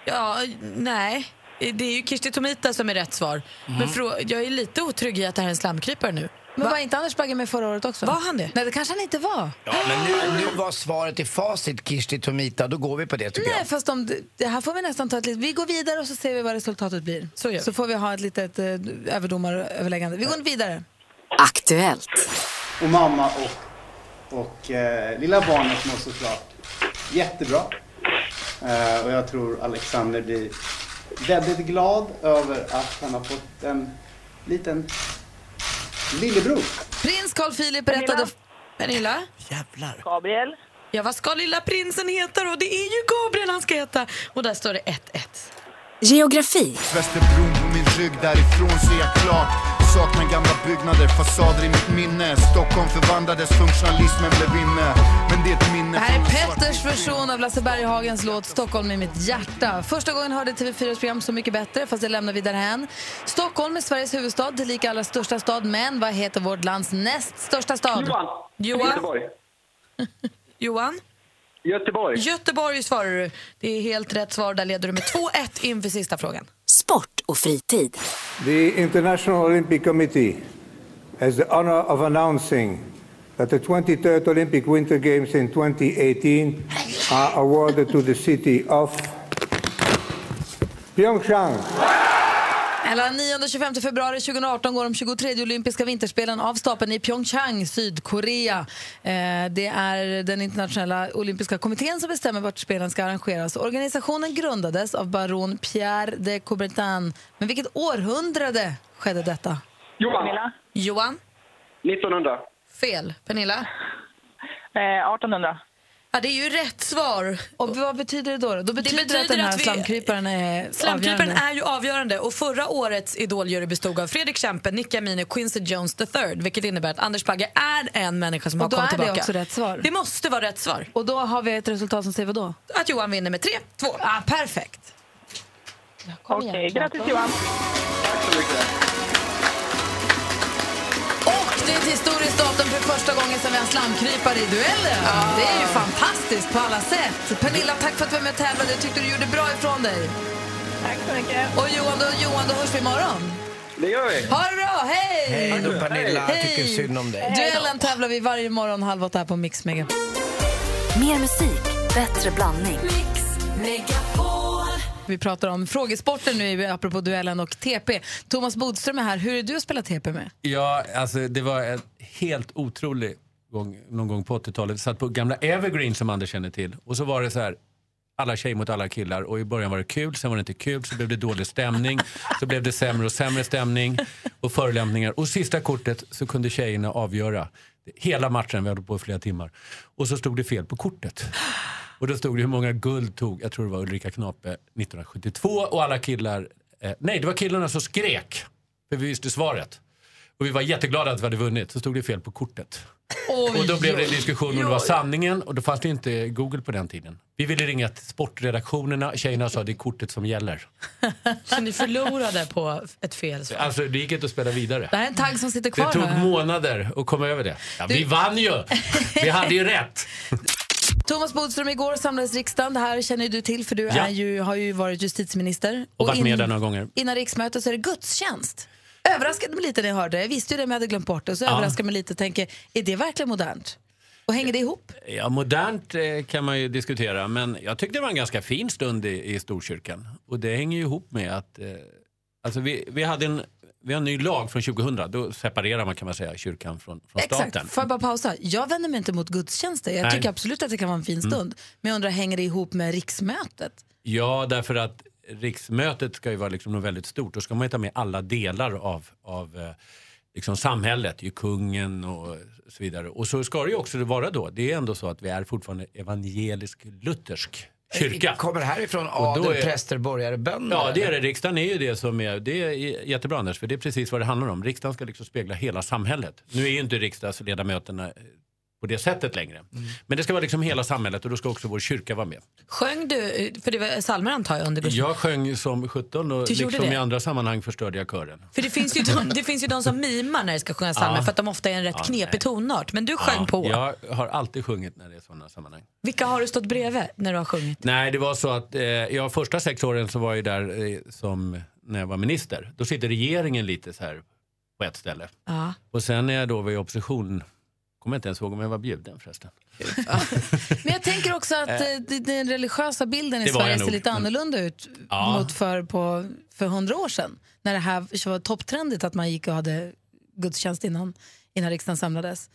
C: Ja, nej. Det är ju Kirsti Tomita som är rätt svar. Men frå- jag är lite otrygg i att det här är en slamkrypare nu.
A: Men var inte Anders Bagge med förra året också?
C: Var han det?
A: Nej, det kanske han inte var.
B: Ja, men nu, nu var svaret i facit, Kirsti Tomita. Då går vi på det tycker
A: Nej,
B: jag.
A: fast om, det här får vi nästan ta ett litet... Vi går vidare och så ser vi vad resultatet blir. Så,
C: gör vi.
A: får vi ha ett litet eh, överdomaröverläggande. Vi går vidare.
J: Aktuellt.
R: Och mamma och, och eh, lilla barnet mår såklart jättebra. Eh, och jag tror Alexander blir väldigt glad över att han har fått en liten lillebror.
A: Prins Carl Philip berättade...
C: Pernilla?
B: Jävlar.
O: Gabriel?
C: Ja, vad ska lilla prinsen heta då? Det är ju Gabriel han ska heta. Och där står det 1-1.
J: Geografi.
S: Västerbron på min rygg, därifrån ser jag klart Saknar gamla byggnader, fasader i mitt minne Stockholm förvandlades, funktionalismen blev inne Men det är ett minne
A: Det här är
S: från svart-
A: Petters version av Lasse Berghagens låt Stockholm i mitt hjärta. Första gången hörde TV4s program Så mycket bättre, fast det lämnar vi därhän. Stockholm är Sveriges huvudstad, tillika allra största stad. Men vad heter vårt lands näst största stad?
C: Johan?
N: Göteborg.
C: Johan?
N: Göteborg.
C: Göteborg svarar du. Det är helt rätt svar. Där leder du med 2-1 inför sista frågan.
J: Sport och fritid.
T: The International Olympic Committee has the honor of announcing that the 23rd Olympic Winter Games in 2018 are awarded to the city of Pyeongchang.
A: Mellan 9 och 25 februari 2018 går de 23 olympiska vinterspelen av stapeln i Pyeongchang, Sydkorea. Eh, det är den internationella olympiska kommittén som bestämmer vart spelen ska arrangeras. Organisationen grundades av baron Pierre de Coubertin. Men vilket århundrade skedde detta?
N: Johan.
C: Johan?
N: 1900.
C: Fel. Pernilla?
O: 1800.
C: Ja, det är ju rätt svar.
A: Och vad betyder det då? Då betyder det, att den
C: betyder
A: här
C: att vi-
A: slamkryparen är
C: Slamkryparen
A: avgörande.
C: är ju avgörande och förra årets idoljury bestod av Fredrik Kempe, Nick Amini och Quincy Jones III vilket innebär att Anders Bagge är en människa som
A: Och
C: har
A: då
C: kommit
A: är det
C: tillbaka.
A: också rätt svar.
C: Det måste vara rätt svar.
A: Och då har vi ett resultat som säger vad då?
C: Att Johan vinner med 3-2.
A: Ah, perfekt.
O: Okej, grattis Johan.
R: mycket.
C: Och det är ett historiskt datum för första gången som vi har en slamkrypare i duellen. Det är ju fantastiskt på alla sätt. Pernilla, tack för att du var med och tävlade. Jag tyckte du gjorde bra ifrån dig. Tack så mycket. Och Johan, då, Johan, då hörs vi imorgon.
N: Det gör vi.
C: Ha det bra, hej!
B: Hej då Pernilla,
C: Hej.
B: tycker synd om dig.
C: Duellen tävlar vi varje morgon halv åtta här på Mix Mega.
J: Mer musik, bättre blandning.
C: Vi pratar om frågesporten nu apropå duellen och TP. Thomas Bodström är här. Hur är du att spela TP med?
U: Ja, alltså det var en helt otrolig gång, någon gång på 80-talet. Satt på gamla Evergreen som Anders känner till. Och så var det så här, alla tjejer mot alla killar. Och i början var det kul, sen var det inte kul, så blev det dålig stämning. Så blev det sämre och sämre stämning och förolämpningar. Och sista kortet så kunde tjejerna avgöra. Hela matchen, vi hade på i flera timmar. Och så stod det fel på kortet. Och då stod det hur många guld tog, jag tror det var Ulrika Knape 1972 och alla killar, eh, nej det var killarna som skrek. För vi visste svaret. Och vi var jätteglada att vi hade vunnit, så stod det fel på kortet. och då blev det en diskussion om det var sanningen och då fanns det inte Google på den tiden. Vi ville ringa till sportredaktionerna, tjejerna sa det är kortet som gäller.
C: Så ni förlorade på ett fel svar.
U: Alltså det gick inte att spela vidare.
C: Det här är en tagg som sitter
U: Det
C: kvar.
U: tog
C: hör jag.
U: månader att komma över det. Ja, vi vann ju! Vi hade ju rätt!
C: Thomas Bodström, igår samlades riksdagen. Det här känner ju du till för du
U: Ja.
C: är ju, har ju varit justitieminister.
U: Och varit med där några gånger.
C: Innan riksmötet så är det gudstjänst. Överraskade mig lite när jag hörde det. Jag visste ju det men jag hade glömt bort det. Och så
U: Ja.
C: överraskade mig lite och tänker, är det verkligen modernt? Och hänger det ihop?
U: Ja, modernt eh, kan man ju diskutera, men jag tyckte det var en ganska fin stund i, i Storkyrkan. Och det hänger ju ihop med att eh, alltså vi, vi hade en vi har en ny lag från 2000, då separerar man kan man säga kyrkan från, från staten.
C: Får jag bara pausa? Jag vänder mig inte mot gudstjänster. Jag
U: Nej.
C: tycker absolut att det kan vara en fin
U: Mm.
C: stund. Men jag undrar, hänger det ihop med riksmötet?
U: Ja, därför att riksmötet ska ju vara liksom något väldigt stort. Då ska man ju ta med alla delar av, av eh, liksom samhället, ju kungen och så vidare. Och så ska det ju också vara då. Det är ändå så att vi är fortfarande evangelisk-luthersk kyrka.
B: Kommer härifrån
U: Och då
B: adel,
U: är-
B: präster, borgare, bönder?
U: Ja, det är det.
B: eller?
U: Riksdagen är ju det som är... Det är jättebra Anders, för det är precis vad det handlar om. Riksdagen ska liksom spegla hela samhället. Nu är ju inte riksdagsledamöterna eh, på det sättet längre. Men det ska vara liksom hela samhället och då ska också vår kyrka vara med.
C: Sjöng du, för det var psalmer antar jag under
U: Jag sjöng som 17 och
C: Du gjorde
U: liksom
C: det?
U: i andra sammanhang förstörde jag kören.
C: För det finns, ju de, det finns ju de som mimar när det ska sjungas psalmer
U: Ja.
C: för att de ofta är en rätt
U: Ja,
C: knepig tonart. Men du sjöng
U: Ja,
C: på.
U: Jag har alltid sjungit när det är sådana sammanhang.
C: Vilka har du stått bredvid när du har sjungit?
U: Nej, det var så att eh, jag första sex åren så var jag ju där eh, som när jag var minister. Då sitter regeringen lite så här på ett ställe.
C: Ja.
U: Och sen när jag då var i opposition, kommer jag inte ens ihåg om jag var bjuden förresten.
C: Men jag tänker också att
U: Eh.
C: eh, det- den religiösa bilden i
U: Det var jag
C: Sverige ser
U: nog,
C: lite
U: men-
C: annorlunda ut
U: Ja.
C: mot för, på, för hundra år sedan. När det här var topptrendigt att man gick och hade gudstjänst innan, innan riksdagen samlades.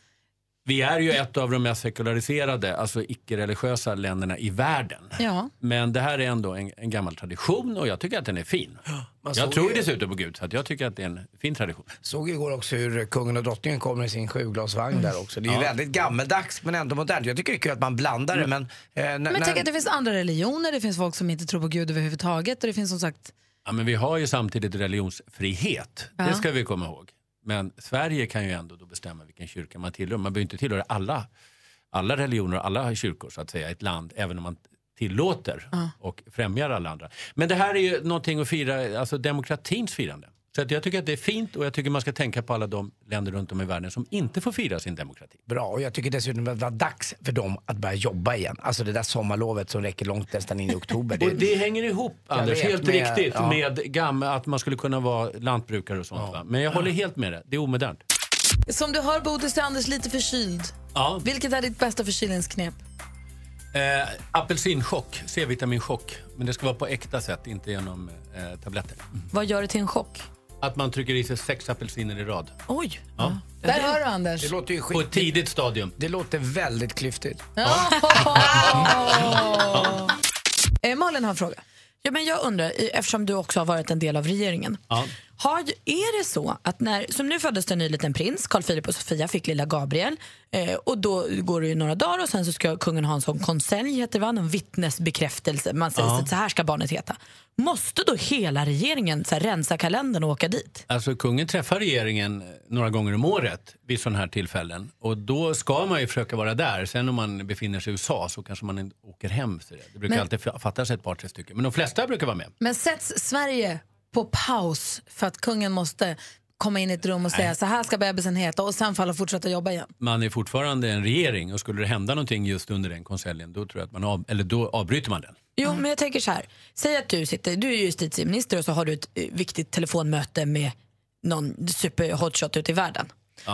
U: Vi är ju ett av de mest sekulariserade, alltså icke-religiösa länderna i världen.
C: Ja.
U: Men det här är ändå en, en gammal tradition och jag tycker att den är fin.
B: man såg
U: Jag tror
B: ju-
U: ju dessutom på Gud, så att jag tycker att det är en fin tradition.
B: Såg igår också hur kungen och drottningen kommer i sin sjuglasvagn där också. Det är ju
U: Ja.
B: väldigt gammeldags men ändå modernt. Jag tycker det är kul att man blandar det men...
U: Mm.
B: Eh, när,
C: Men tänk
B: när-
C: att det finns andra religioner, det finns folk som inte tror på Gud överhuvudtaget och det finns som sagt
U: Ja, men vi har ju samtidigt religionsfrihet.
C: Ja.
U: Det ska vi komma ihåg. Men Sverige kan ju ändå då bestämma vilken kyrka man tillhör. Man behöver inte tillhöra alla, alla religioner och alla kyrkor så att säga i ett land, även om man tillåter
C: Ja.
U: och främjar alla andra. Men det här är ju någonting att fira, alltså demokratins firande. Så att jag tycker att det är fint och jag tycker man ska tänka på alla de länder runt om i världen som inte får fira sin demokrati.
B: Bra, och jag tycker dessutom att det var dags för dem att börja jobba igen. Alltså det där sommarlovet som räcker långt nästan in i oktober.
U: Och det hänger ihop,
B: Jag
U: Anders,
B: vet,
U: helt
B: med-
U: riktigt,
B: ja.
U: med gamla, att man skulle kunna vara lantbrukare och sånt. Va? Men jag håller helt med dig, det är omodernt.
C: Som du hör Bodis är Anders lite förkyld.
U: Ja.
C: Vilket är ditt bästa förkylningsknep?
U: Eh, apelsinchock, C-vitaminchock. Men det ska vara på äkta sätt, inte genom eh, tabletter.
C: Vad gör det till en chock?
U: Att man trycker i sig sex apelsiner i rad.
C: Oj!
U: Ja.
C: Där hör du Anders.
B: Det låter ju
U: På ett tidigt stadium.
B: Det låter väldigt klyftigt.
C: Eh, Malin har en fråga. Ja, men jag undrar, i- eftersom du också har varit en del av regeringen. Har, ju- är det så att när, som nu föddes det en ny liten prins, Carl Philip och Sofia fick lilla Gabriel eh, och då går det ju några dagar och sen så ska kungen ha en sån konselj, heter det va? En vittnesbekräftelse. Man säger
U: Ja.
C: så, att så här ska barnet heta. Måste då hela regeringen så här, rensa kalendern och åka dit?
U: Alltså kungen träffar regeringen eh, några gånger om året vid sådana här tillfällen. Och då ska man ju försöka vara där. Sen om man befinner sig i USA så kanske man inte åker hem. Så det. det brukar
C: Men-
U: alltid fa- fattas ett par, tre stycken. Men de flesta brukar vara med.
C: Men sätts Sverige
A: på paus för att kungen måste komma in i ett rum och säga så här ska bebisen heta och sen falla och fortsätta jobba igen.
U: Man är fortfarande en regering och skulle det hända någonting just under den konseljen då, tror jag att man av, eller då avbryter man den.
C: Jo, men jag tänker så här. Säg att du sitter, du är justitieminister och så har du ett eh, viktigt telefonmöte med någon superhotshot ute i världen.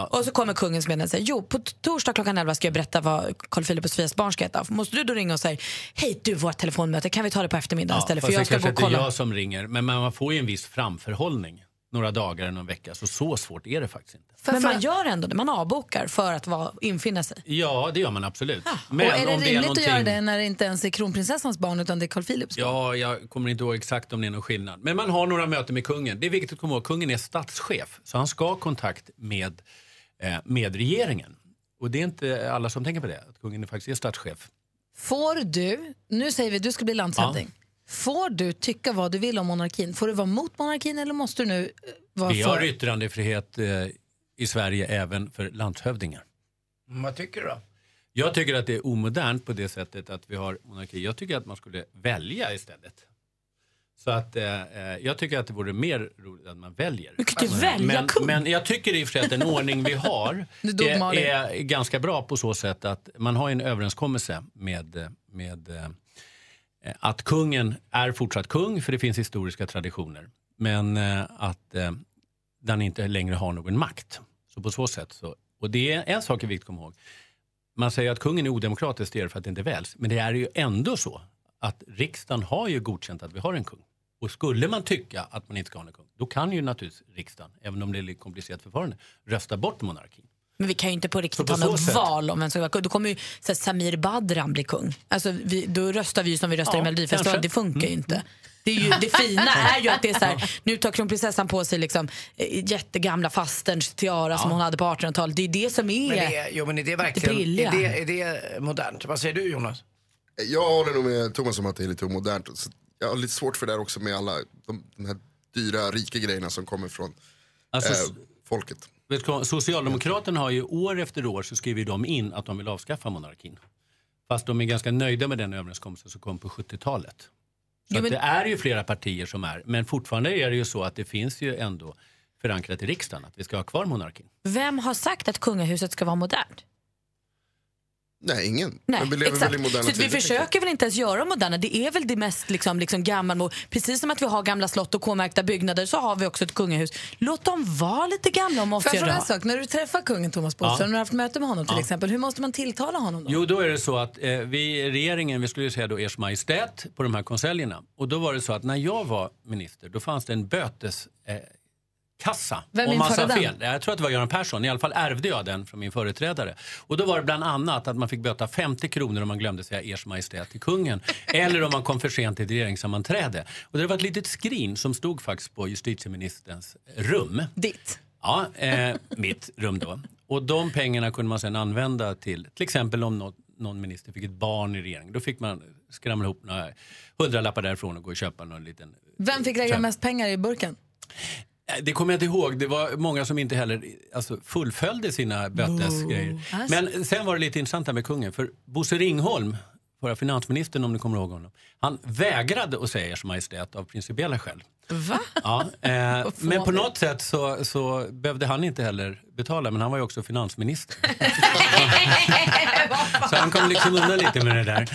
C: Och så kommer kungens meddelande och säger jo, på t- torsdag klockan 11 ska jag berätta vad Carl Philip och Sofias barn ska heta. Måste du då ringa och säga hej du, vårt telefonmöte, kan vi ta det på eftermiddagen istället för
U: fast
C: jag
U: det
C: ska gå
U: kanske
C: och
U: inte är
C: kolla.
U: jag som ringer, men man man får ju en viss framförhållning. Några dagar eller någon vecka, så så svårt är det faktiskt inte.
C: Men man gör ändå det, man avbokar för att vara, infinna sig.
U: Ja, det gör man absolut.
A: Ah, och är det rimligt
U: någonting-
A: att göra det när det inte ens är kronprinsessans barn utan det är Carl Philips?
U: Ja, jag kommer inte ihåg exakt om det är någon skillnad. Men man har några möten med kungen. Det är viktigt att komma ihåg, kungen är statschef. Så han ska ha kontakt med, eh, med regeringen. Och det är inte alla som tänker på det, att kungen faktiskt är statschef.
A: Får du, nu säger vi du ska bli landshövding. Får du tycka vad du vill om monarkin? Får du vara mot monarkin eller måste du nu eh, vara
U: Vi har
A: för?
U: yttrandefrihet eh, i Sverige även för landshövdingar.
B: Vad tycker du då?
U: Jag tycker att det är omodernt på det sättet att vi har monarki. Jag tycker att man skulle välja istället. Så att eh, eh, jag tycker att det vore mer roligt att man väljer. Du
C: kan ju välja
U: men,
C: kung.
U: Men jag tycker i och för sig att den ordning vi har
C: Nu dog
U: är,
C: Malin.
U: är ganska bra på så sätt att man har ju en överenskommelse med, eh, med eh, att kungen är fortsatt kung för det finns historiska traditioner. Men eh, att eh, den inte längre har någon makt. Så på så sätt så, och det är en sak är viktigt att komma ihåg. Man säger att kungen är odemokratisk det är det för att det inte väljs. Men det är ju ändå så att riksdagen har ju godkänt att vi har en kung. Och skulle man tycka att man inte ska ha en kung, då kan ju naturligtvis riksdagen, även om det är lite komplicerat förfarande, rösta bort monarkin.
C: Men vi kan ju inte på
U: Så
C: riktigt
U: på
C: ha
U: så
C: något
U: sätt-
C: val om vem som ska vara kung. Då kommer ju så här, Samir Badran bli kung. Alltså, vi, då röstar vi ju som vi röstar
U: Ja,
C: i Melodifestivalen.
U: kanske. Mm.
C: Det funkar ju inte. Det, är ju, det fina är ju att det är så här, nu tar kronprinsessan på sig liksom, eh, jättegamla fasterns tiara som
B: Ja.
C: hon hade på 1800-talet. Det är ju det som är,
B: Men det, är- jo, men är det verkligen
C: brilliga.
B: är det, är det modernt? Vad säger du Jonas?
E: Jag håller nog med Thomas om att det är lite omodernt. Så Jag har lite svårt för det där också med alla de, de här dyra, rika grejerna som kommer från
U: Alltså,
E: eh, folket.
U: Vet du vad, Socialdemokraterna har ju år efter år så skriver de in att de vill avskaffa monarkin. Fast de är ganska nöjda med den överenskommelsen som kom på 70-talet. Så att det är ju flera partier som är, men fortfarande är det ju så att det finns ju ändå förankrat i riksdagen att vi ska ha kvar monarkin.
C: Vem har sagt att kungahuset ska vara modernt?
E: Nej, ingen.
C: Nej,
E: Men vi lever
C: exakt.
E: väl i moderna
C: så att vi
E: tider,
C: försöker väl inte ens göra moderna. Det är väl det mest liksom, liksom gammalmod. Precis som att vi har gamla slott och K-märkta byggnader så har vi också ett kungahus. Låt dem vara lite gamla och
A: Får jag
C: mossiga.
A: fråga
C: då.
A: en sak? När du träffar kungen Thomas
U: Ja.
A: Bodström, när du har haft möte med honom till
U: Ja.
A: exempel, hur måste man tilltala honom då?
U: Jo, då är det så att eh, vi, regeringen, vi skulle ju säga då Ers Majestät på de här konseljerna. Och då var det så att när jag var minister, då fanns det en böteskassa. Eh, kassa,
V: Vem
U: om man sa
V: införde
U: fel. Jag tror att det var Göran Persson, i alla fall ärvde jag den från min företrädare. Och då var det bland annat att man fick böta 50 kronor om man glömde säga Ers Majestät till kungen. eller om man kom för sent till ett regeringssammanträde. Och det var ett litet skrin som stod faktiskt på justitieministerns rum.
A: Ditt?
U: Ja, eh, mitt rum då. Och de pengarna kunde man sen använda till, till exempel om något, någon minister fick ett barn i regeringen. Då fick man skramla ihop några hundralappar därifrån och gå och köpa någon liten...
A: Vem fick lägga mest pengar i burken?
U: Eh, Det kommer jag inte ihåg. Det var många som inte heller alltså, fullföljde sina bötesgrejer.
V: Alltså.
U: Men sen var det lite intressant här med kungen. För Bosse Ringholm, förra finansministern om ni kommer ihåg honom. Han vägrade att säga Ers Majestät av principiella skäl.
C: Va?
U: Ja, eh, men på något sätt så, så behövde han inte heller betala, men han var ju också finansminister. så han kom liksom undan lite med det där.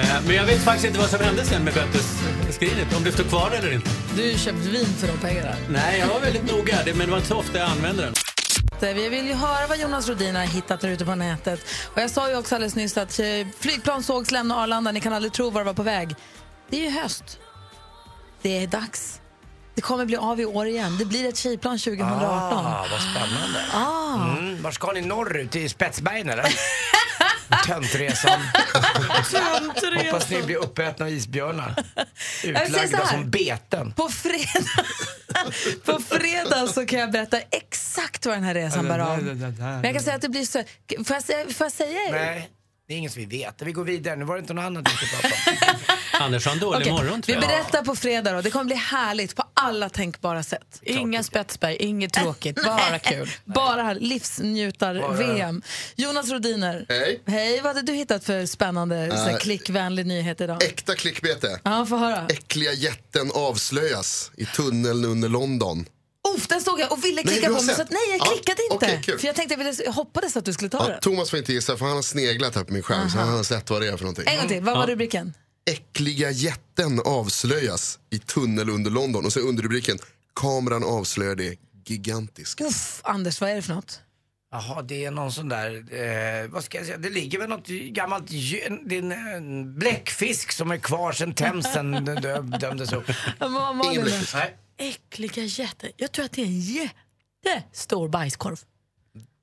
U: Eh, men jag vet faktiskt inte vad som hände sen med bötesskrinet, om det står kvar eller inte.
A: Du har ju köpt vin för de pengarna.
U: Nej, jag var väldigt noga, det- men det var inte så ofta jag använde den.
A: eh, Vi vill ju höra vad Jonas Rodin har hittat där ute på nätet. Och jag sa ju också alldeles nyss att eh, flygplan sågs lämna Arlanda. Ni kan aldrig tro var det var på väg. Det är ju höst. Det är dags. Det kommer bli av i år igen. Det blir ett tjejplan 2018.
B: Ah, vad spännande.
A: Ah.
B: Mm, var ska ni norrut? I Spetsbergen eller? Töntresan.
A: Töntresan.
B: Hoppas ni blir uppätna av isbjörnar.
A: säger så
B: Utlagda
A: här.
B: som beten.
A: På fredag, på fredag så kan jag berätta exakt vad den här resan bär av. Men jag kan säga att det blir så... Får jag, säga- får jag säga?
B: Nej. Det är ingen som vi vet. Vi går vidare. Nu var det inte något annat vi skulle prata om.
U: Andersson, dålig
A: Okej,
U: morgon
A: Vi
U: tror jag.
A: berättar på fredag då. Det kommer bli härligt på alla tänkbara sätt.
C: Inga spetsberg, inget tråkigt, bara kul.
A: Bara livsnjutar-VM. Jonas Rodiner.
E: Hej.
A: Hej, vad hade du hittat för spännande så här,
E: Äh,
A: klickvänlig nyhet idag?
E: Äkta klickbete.
A: Ja, få höra.
E: Äckliga jätten avslöjas i tunneln under London.
A: Uff, den såg jag och ville
E: Nej,
A: klicka
E: du har
A: på den.
E: sett.
A: Så att, nej, jag
E: Ja,
A: klickade inte.
E: okej, kul.
A: för jag tänkte, jag, ville, jag hoppades att du skulle ta
E: Ja,
A: den.
E: Thomas får inte gissa för han har sneglat här på min skärm så
A: Aha.
E: han har sett vad det är för någonting.
A: En gång till, vad var
E: Ja.
A: rubriken?
E: Äckliga jätten avslöjas i tunnel under London och så underrubriken Kameran avslöjar det gigantiska.
A: Uff, Anders, vad är det för något?
B: Jaha, det är någon sån där, eh, vad ska jag säga, det ligger väl något gammalt djur- det är en, en bläckfisk som är kvar sedan Themsen dö, dömdes upp.
C: Malin. bläckfisk.
B: Nej.
C: Äckliga jätte. Jag tror att det är en jättestor bajskorv.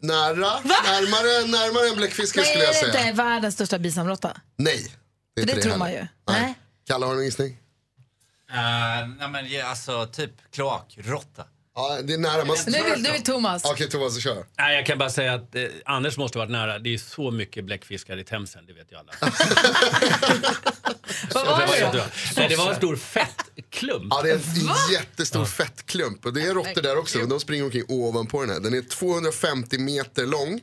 E: Nära, närmare, närmare en bläckfiskare
A: Nej,
E: skulle jag
A: är det
E: säga.
A: inte världens största bisamrotta?
E: Nej,
A: För
E: det är inte
A: det
E: det
A: tror man
E: heller.
A: ju.
E: Nej. Kalle, har du en gissning?
V: nej men ja, alltså typ kloakråtta.
E: Ja, det är nära. Man
A: Nu vill, nu vill Thomas.
E: Okej, Thomas, kör.
U: Nej, jag kan bara säga att eh, Anders måste ha varit nära. Det är så mycket bläckfiskar i Themsen, det vet ju alla.
A: Vad
U: Så
A: var det
U: jättebra.
A: då?
U: Nej, det var en stor fettklump.
E: Ja, det är en
U: Va?
E: jättestor fettklump. Och det är råttor där också. men De springer omkring ovanpå den här. Den är 250 meter lång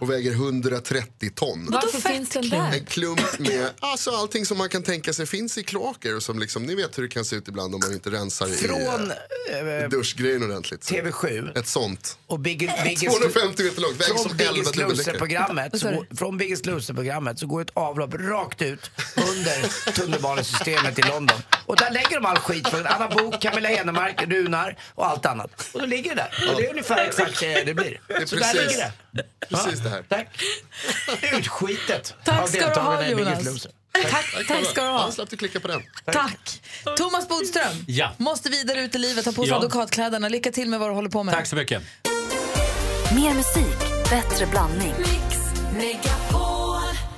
E: och väger 130 ton.
A: Varför finns den
E: En
A: där?
E: klump med alltså allting som man kan tänka sig finns i kloaker. Och som liksom, ni vet hur det kan se ut ibland om man inte rensar
B: Från
E: i, eh, i
B: eh,
E: duschgrejen ordentligt.
B: TV7.
E: Ett sånt.
B: och Big,
E: 250 meter långt, väger som
B: Från
E: 11
B: Biggest
E: dubbeldeckare.
B: Loser-programmet,
E: Vad sa
B: så-
E: du?
B: från Biggest Loser-programmet så går ett avlopp rakt ut under tunnelbanesystemet i London. Och där lägger de all skit från Anna Bok, Camilla Henemark, Runar och allt annat. Och då ligger det där. Och det är ungefär exakt eh, det det blir.
E: Det är
B: Så där
E: precis-
B: ligger det.
E: Precis det här.
B: Tack. Utskitet
A: Tack
B: av
A: ska du
B: deltagarna
A: ha
B: i Biggest
A: Jonas.
B: Loser.
A: Tack, tack ska du ha.
E: Han slapp du klicka på den.
A: Tack. Thomas Bodström,
U: Ja.
A: måste vidare ut i livet, ta på sig
U: Ja.
A: advokatkläderna. Lycka till med vad du håller på med.
U: Tack så mycket.
J: Mer musik, bättre blandning.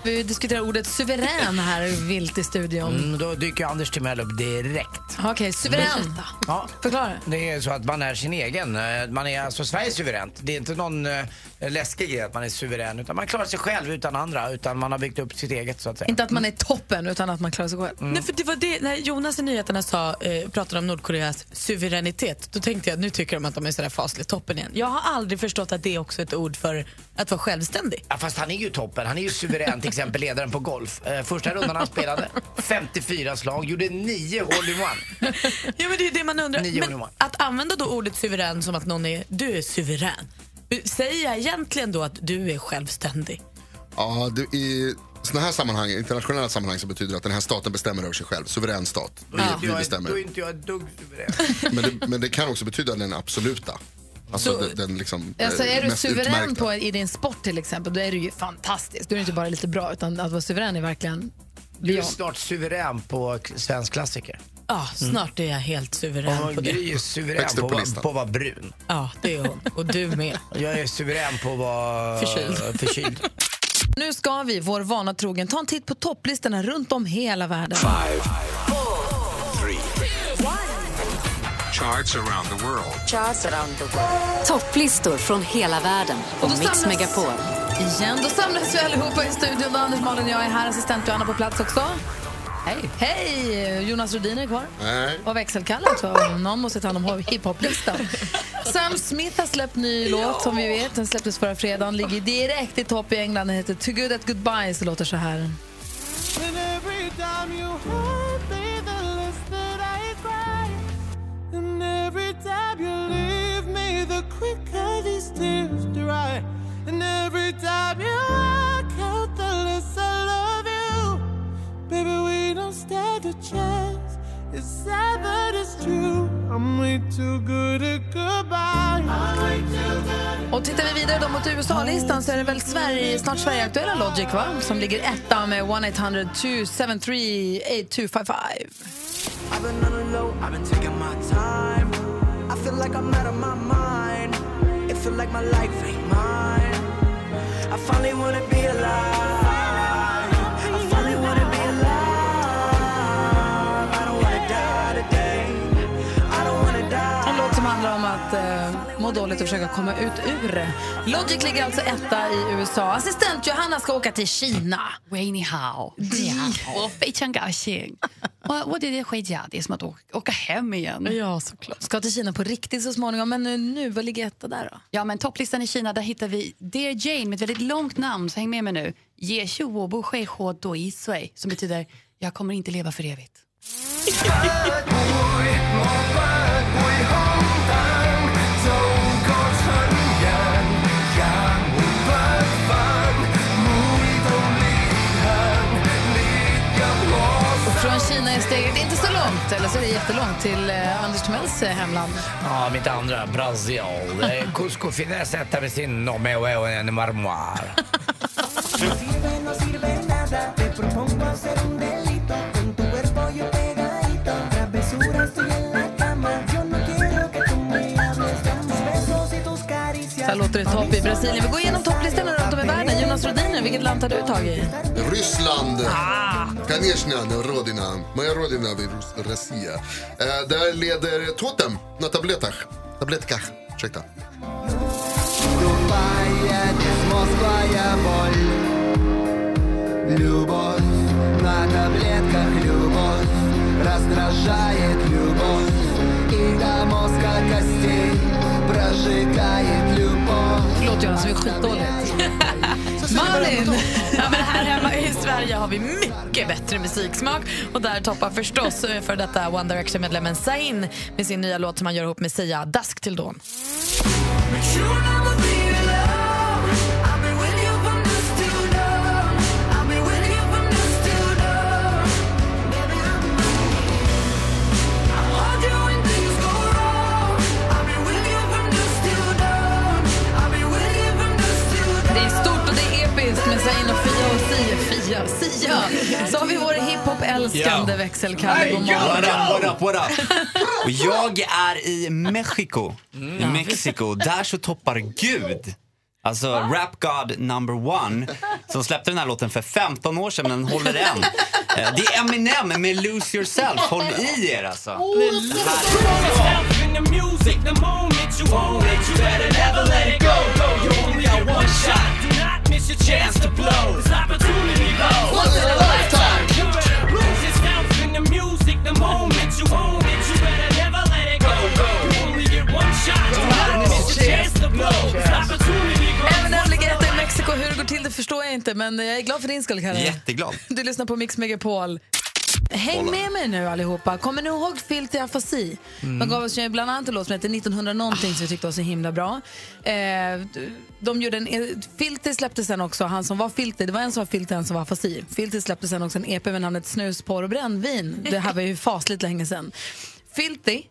A: Vi diskuterar ordet suverän här vilt i studion.
B: Mm, då dyker Anders Timell upp direkt.
A: Okej, suverän.
B: Berätta. Ja.
A: Förklara.
B: Det är så att man är sin egen. Eh, Man är alltså Sveriges suveränt. Det är inte någon eh, läskig grej att man är suverän. Utan man klarar sig själv utan andra. Utan man har byggt upp sitt eget så att säga.
A: Inte att man är toppen, utan att man klarar sig själv.
C: Nej, för det var det, när Jonas i nyheterna sa, eh, pratade om Nordkoreas suveränitet, då tänkte jag nu tycker de att de är sådär fasligt toppen igen. Jag har aldrig förstått att det är också ett ord för att vara självständig.
B: Ja, fast han är ju toppen. Han är ju suverän, till exempel ledaren på golf. Eh, första rundan han spelade, 54 slag, gjorde 9 hål i one.
C: Ja, men det är det man undrar.
B: Nio
C: Men
B: ungdomar.
C: att använda då ordet suverän som att någon är, du är suverän. Säger jag egentligen då att du är självständig?
E: Ja, du, I såna här sammanhang, internationella sammanhang så betyder det att den här staten bestämmer över sig själv. Suverän stat. Vi,
B: Då är inte
E: vi
B: jag- Då är
E: bestämmer.
B: inte jag ett dugg suverän.
E: Men det, men det kan också betyda den absoluta. Alltså
A: Så-
E: den, den liksom,
A: Alltså,
E: eh,
A: är du
E: mest
A: suverän
E: utmärkta.
A: på, i din sport till exempel, då är du ju fantastisk. Då är du inte bara lite bra, utan att vara suverän är verkligen
B: Du är
A: beyond.
B: snart suverän på k- svensk klassiker.
C: Ja, snart är jag helt suverän
B: Och
C: på
B: Gry är
C: det.
B: suverän
C: Högst
B: på,
C: upp på
B: att vara-
C: listan.
B: på att vara brun.
C: Ja, det är hon. Och du med.
B: Jag är suverän på att vara
C: Förkyld.
B: förkyld.
A: Nu ska vi, vår vana trogen, ta en titt på topplistorna runt om hela världen.
W: Five, three. Charts around the world.
J: Topplistor från hela världen på
A: då
J: Mix
A: samlas-
J: Megapol.
A: Igen, då samlas vi allihopa i studion. Då Anders, Malin och jag är här. Assistent Johanna på plats också. Hej! Hej! Jonas Rhodin är kvar.
E: Nej.
A: Och växelkalle också. Någon måste ta hand om hiphoplistan. Sam Smith har släppt ny låt som vi vet. Den släpptes förra fredagen. Ligger direkt i topp i England. Den heter Too Good At Goodbye så låter så här.
P: And every time you hold me, the less that I cry. And every time you leave me, the quicker these tears dry. And every time you walk out, the less I love you. Baby, we don't stand a chance. It's sad, but it's true. I'm way too good at goodbye. I'm way too good.
A: Och tittar vi vidare då mot USA-listan så är det väl Sverige, snart Sverige-aktuella Logic va? Som ligger etta med 1-800-273-8255.
P: I've been on the low, I've been taking my time. I feel like I'm out of my mind. It feel like my life ain't mine. I finally wanna be alive. I finally wanna be alive. I don't wanna die today. I don't wanna die.
A: En låt som handlar om att eh, må dåligt och försöka komma ut ur det. Logic ligger alltså etta i USA. Assistent Johanna ska åka till Kina.
L: Wayne Hao. Och Beijing-Gaxing. Och och det är skitja, det är som att åka, åka hem igen.
A: Ja, såklart. Ska till Kina på riktigt så småningom. Men nu, nu vad ligger etta där då?
L: Ja, men topplistan i Kina, där hittar vi Dear Jane med ett väldigt långt namn, så häng med mig nu. Ye Xiu Wo Bu Shui Huo Do Yi Sui, som betyder Jag kommer inte leva för evigt.
A: Och från Kina är steget inte så långt, eller så är det jättelångt, till eh, Anders Timells eh, hemland.
B: Ja, mitt andra, Brasil. Det är Cusco finnes etta med sin nome och en marmor.
A: Så här låter det topp i Brasilien. Vi går igenom topplistorna runt om i världen. Jonas Rhodiner, vilket land tar du tag i? Ah.
E: Ryssland. Конечно, Родина. Моя Родина vid Rus- Россия. Eh, där leder Totem на таблетах. Таблетках. Ursäkta.
P: Любовь на таблетках, любовь раздражает любовь и до мозга костей прожигает любовь.
A: Förlåt Jonas, vi är skitdåliga.
C: Malin! Ja, men här hemma i Sverige har vi mycket bättre musiksmak. Och där toppar förstås eh, för detta One Direction-medlemmen Zayn med sin nya låt som han gör ihop med Sia, Dusk till dawn.
A: Det är stort och det är episkt med Zayn och Fia och Sia. Fia, Sia. Så har vi vår hiphop-älskande
X: Ja.
A: växelkalle. God
X: What up, what
A: morgon.
X: up, what up? Och jag är i Mexiko. I Mexiko. Där så toppar Gud. Alltså Rap God number one. Som släppte den här låten för 15 år sedan men den håller än. Eh, Det är Eminem med Lose Yourself. Håll i er alltså.
A: Eminem ligger etta i Mexiko. Hur det går till det förstår jag inte, men jag är glad för din skull, Kalle.
X: Jätteglad.
A: Du lyssnar på Mix Megapol. Häng med mig nu allihopa. Kommer ni ihåg Filthy Afasi? De
C: Mm.
A: gav oss ju bland annat en låt som hette 1900 någonting som vi tyckte var så himla bra. Eh, de gjorde en, eh, Filthy släppte sen också, han som var Filthy, det var en som var Filthy och en som var Afasi. Filthy släppte sen också en EP med namnet Snus, porr och brännvin. Det här var ju fasligt länge sen. Filthy,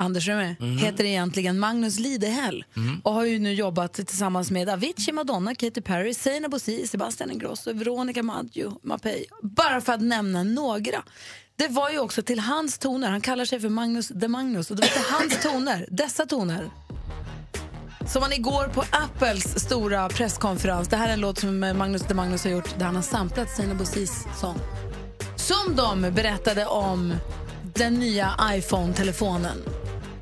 A: Anders är du med,
C: Mhm.
A: heter egentligen Magnus Lidehäll
C: Mm.
A: och har ju nu jobbat tillsammans med Avicii, Madonna, Katy Perry, Zayn Abouzi, Sebastian Ingrosso, Veronica Maggio, Mapei. Bara för att nämna några. Det var ju också till hans toner, han kallar sig för Magnus de Magnus, och det var till hans toner, dessa toner. Som man igår på Apples stora presskonferens, det här är en låt som eh, Magnus de Magnus har gjort där han har samplat Zayn Abouzis sång. Som de berättade om den nya iPhone-telefonen.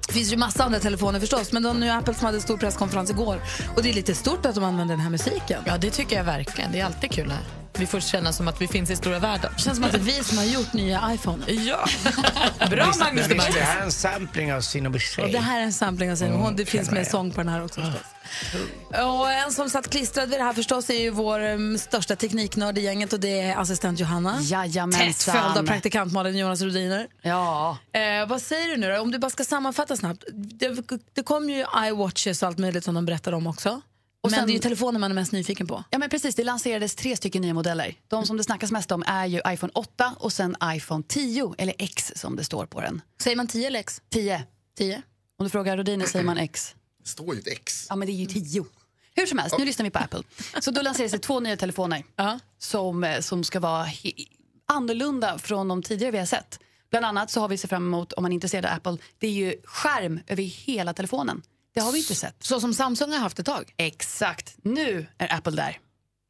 A: Det finns ju massa andra telefoner förstås, men de nu Apple som hade stor presskonferens igår. Och det är lite stort att de använder den här musiken.
C: Ja, det tycker jag verkligen. Det är alltid kul här. Vi får känna som att vi finns i stora världen.
A: känns som att det är vi som har gjort nya iPhone.
C: Ja. Bra, Magnus de
B: Men visst, Det här är
C: Magnus.
B: en sampling av Sin och
A: Och det
B: Boucher.
A: här är en sampling av sin. Hon, det
B: Mm,
A: finns
B: känner
A: med
B: jag. Mm.
A: sång på den här också förstås. Och en som satt klistrad vid det här förstås är ju vår em, största tekniknörd i gänget och det är assistent Johanna.
L: Jajamensan.
A: Tätt följd av praktikant Malin Jonas Rhodiner.
L: Ja.
A: Eh, vad säger du nu då? Om du bara ska sammanfatta snabbt. Det, det kom ju iWatches och allt möjligt som de berättade om också.
L: Och
A: Och Men
L: sen-
A: det är ju telefonen man är mest nyfiken på.
L: Ja, men precis. Det lanserades tre stycken nya modeller. De som det snackas mest om är ju iPhone 8 och sen iPhone 10, eller X som det står på den.
A: Säger man 10 eller X?
L: 10.
A: 10.
L: Om du frågar Rodiner säger man X.
E: Det står ju ett X.
L: Ja, men det är ju 10. Hur som helst, nu lyssnar vi på Apple. Så då lanseras det två nya telefoner som, eh, som ska vara he- annorlunda från de tidigare vi har sett. Bland annat så har vi sett fram emot, om man är intresserad av Apple, det är ju skärm över hela telefonen. Det har vi inte sett.
A: Så som Samsung har haft ett tag?
L: Exakt. Nu är Apple där.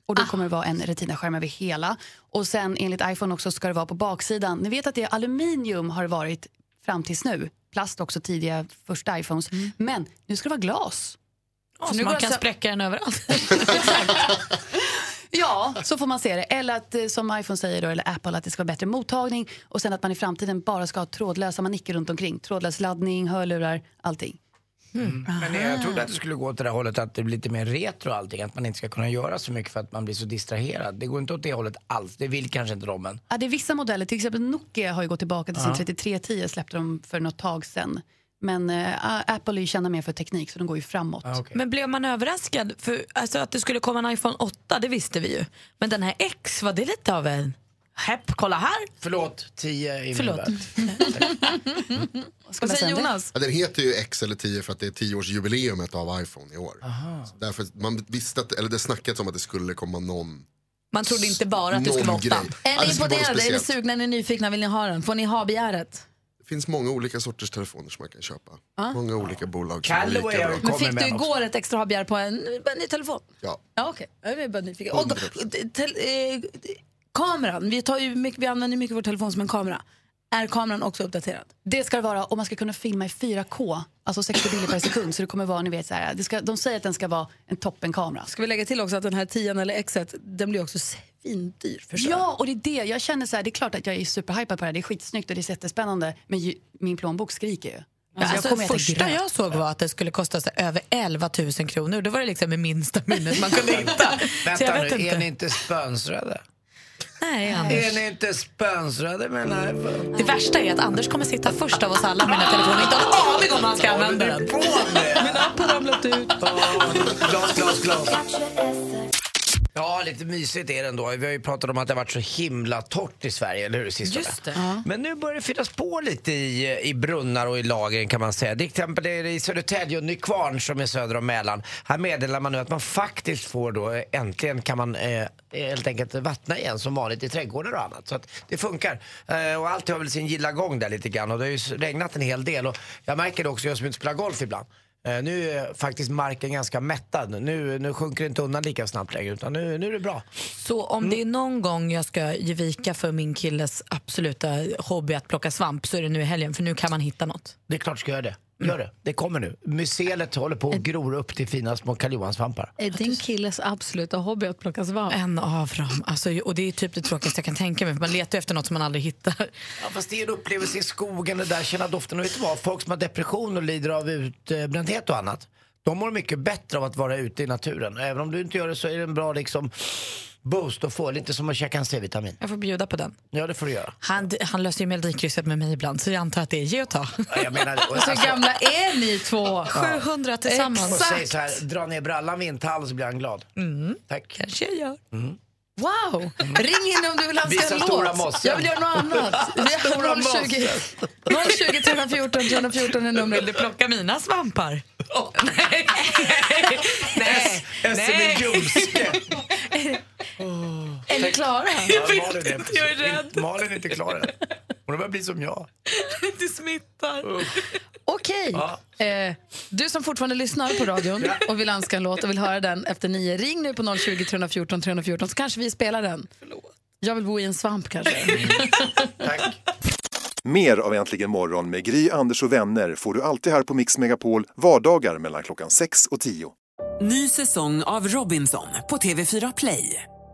L: Och då kommer det vara en retinaskärm över hela. Och sen enligt iPhone också ska det vara på baksidan. Ni vet att det är aluminium har varit fram tills nu. Plast också tidiga första iPhones. Men nu ska det vara glas.
C: Så nu man kan spräcka den överallt.
L: Ja, så får man se det. Eller att, eh, som iPhone säger då, eller Apple, att det ska vara bättre mottagning och sen att man i framtiden bara ska ha trådlösa manicker runt omkring. Trådlös laddning, hörlurar, allting.
B: Men jag trodde att det skulle gå åt det där hållet att det blir lite mer retro och allting. Att man inte ska kunna göra så mycket för att man blir så distraherad. Det går inte åt det hållet alls. Det vill kanske inte de än.
L: Ja, det är vissa modeller, till exempel Nokia har ju gått tillbaka till sin
B: Ja.
L: 3310, släppte de för något tag sedan. Men eh, Apple är ju kända mer för teknik så de går ju framåt.
C: Men blev man överraskad? För, alltså, att det skulle komma en iPhone 8, det visste vi ju. Men den här X, var det lite av en... Hepp, kolla här!
B: Förlåt, 10 i
C: Förlåt. Vad säger Jonas?
E: Ja, den heter ju X eller 10 för att det är 10-årsjubileumet av iPhone i år. Så därför man visste att, eller det snackades om att det skulle komma någon.
C: Man trodde inte bara att det
E: Någon
C: skulle vara 8.
E: grej. Ja,
A: Är
E: det
A: ni
E: ska vara
A: imponerade? Är ni
E: speciellt.
A: sugna? Är ni nyfikna? Vill ni ha den? Får ni ha begäret?
E: Det finns många olika sorters telefoner som man kan köpa.
A: Ja.
E: Många olika bolag som är
A: Ah. Callaway
E: lika bra.
A: Men fick du igår ett extra ha begär på en, en ny telefon?
E: Ja.
A: Ja, okej. Jag är bara nyfiken. Och, tel, eh, kameran, vi, tar ju mycket, vi använder ju mycket vår telefon som en kamera. Är kameran också uppdaterad?
L: Det ska det vara och man ska kunna filma i 4K, alltså 60 bilder per sekund. Så det kommer vara, ni vet, så här, det ska, de säger att den ska vara en toppenkamera.
A: Ska vi lägga till också att den här 10 eller X den blir också svindyr förstår jag.
L: Ja, och det är det. Jag känner så här, det är klart att jag är superhypad på det här. Det är skitsnyggt och det är jättespännande. Men ju, min plånbok skriker ju.
C: Ja, alltså,
L: kommer äta
C: första
L: gröt.
C: jag såg var att det skulle kosta så över 11 000 kronor. Det var det liksom med minsta minnet man kunde hitta. så jag
B: Vänta nu,
C: vet inte.
B: är ni inte sponsrade?
C: Nej,
B: Är
C: Anders.
B: ni inte sponsrade med den här?
C: Det värsta är att Anders kommer sitta först av oss alla med den här telefonen och inte ha en aning om hur han ska använda den.
B: Min app har ramlat ut. Glas, glas, glas. Ja, lite mysigt är det ändå. Vi har ju pratat om att det har varit så himla torrt i Sverige, eller hur? Sista
P: Just det.
B: Men nu börjar det fyllas på lite i, i brunnar och i lagren kan man säga. Till exempel är det i Södertälje och Nykvarn som är söder om Mälaren. Här meddelar man nu att man faktiskt får då, eh, äntligen kan man eh, helt enkelt vattna igen som vanligt i trädgårdar och annat. Så att det funkar. Eh, och allt har väl sin gilla gång där lite grann. Och det har ju s- regnat en hel del. Och jag märker det också, jag som inte spelar golf ibland. Eh, Nu är faktiskt marken ganska mättad. Nu, nu sjunker det inte undan lika snabbt längre, utan nu, nu är det bra.
C: Så om det är någon gång jag ska ge vika för min killes absoluta hobby att plocka svamp så är det nu i helgen för nu kan man hitta något.
B: Det är klart ska jag göra det. Gör det. Det kommer nu. Mycelet håller på att gror upp till fina små Karl Johansvampar.
A: Är din killes absoluta hobby att plocka svamp?
C: En av dem. Alltså, och det är typ det tråkigaste jag kan tänka mig för man letar ju efter något som man aldrig hittar.
B: Ja, fast det är en upplevelse i skogen, det där känna doften. Och vet du vad? Folk som har depression och lider av utbrändhet och annat, de mår mycket bättre av att vara ute i naturen. Även om du inte gör det så är det en bra liksom, boost att få. Lite som att käka en C-vitamin.
C: Jag får bjuda på den.
B: Ja, det får du göra.
C: Han, han löser ju melodikrysset med mig ibland så jag antar att det är ge och ta.
B: Ja, jag menar, alltså, och
A: Så gamla är ni två?
C: 700 tillsammans.
B: Och säg så här, dra ner brallan vid en tall så blir han glad. Tack.
C: Kanske jag gör.
B: Mm.
A: Wow! Mm. Ring in om du vill önska
B: Visa
A: en
B: stora
A: låt.
B: mossen.
A: Jag vill göra något annat. Vi
B: Stora
A: har 020,
B: mossen.
A: 020 314 314 är numret.
C: Vill du plocka mina svampar? nej! nej!
B: Össe med ljumske.
A: Är ni klara?
B: Jag vet inte, jag är rädd. Malin är inte klar än. Hon börjar bli som jag.
C: Det smittar.
A: Okej. Eh, du som fortfarande lyssnar på radion och vill önska en låt och vill höra den efter nio, ring nu på 020 314 314 så kanske vi spelar den. Jag vill bo i en svamp kanske.
I: Mer av Äntligen morgon med Gry, Anders och vänner får du alltid här på Mix Megapol vardagar mellan klockan 6 och 10.
D: Ny säsong av Robinson på TV4 Play.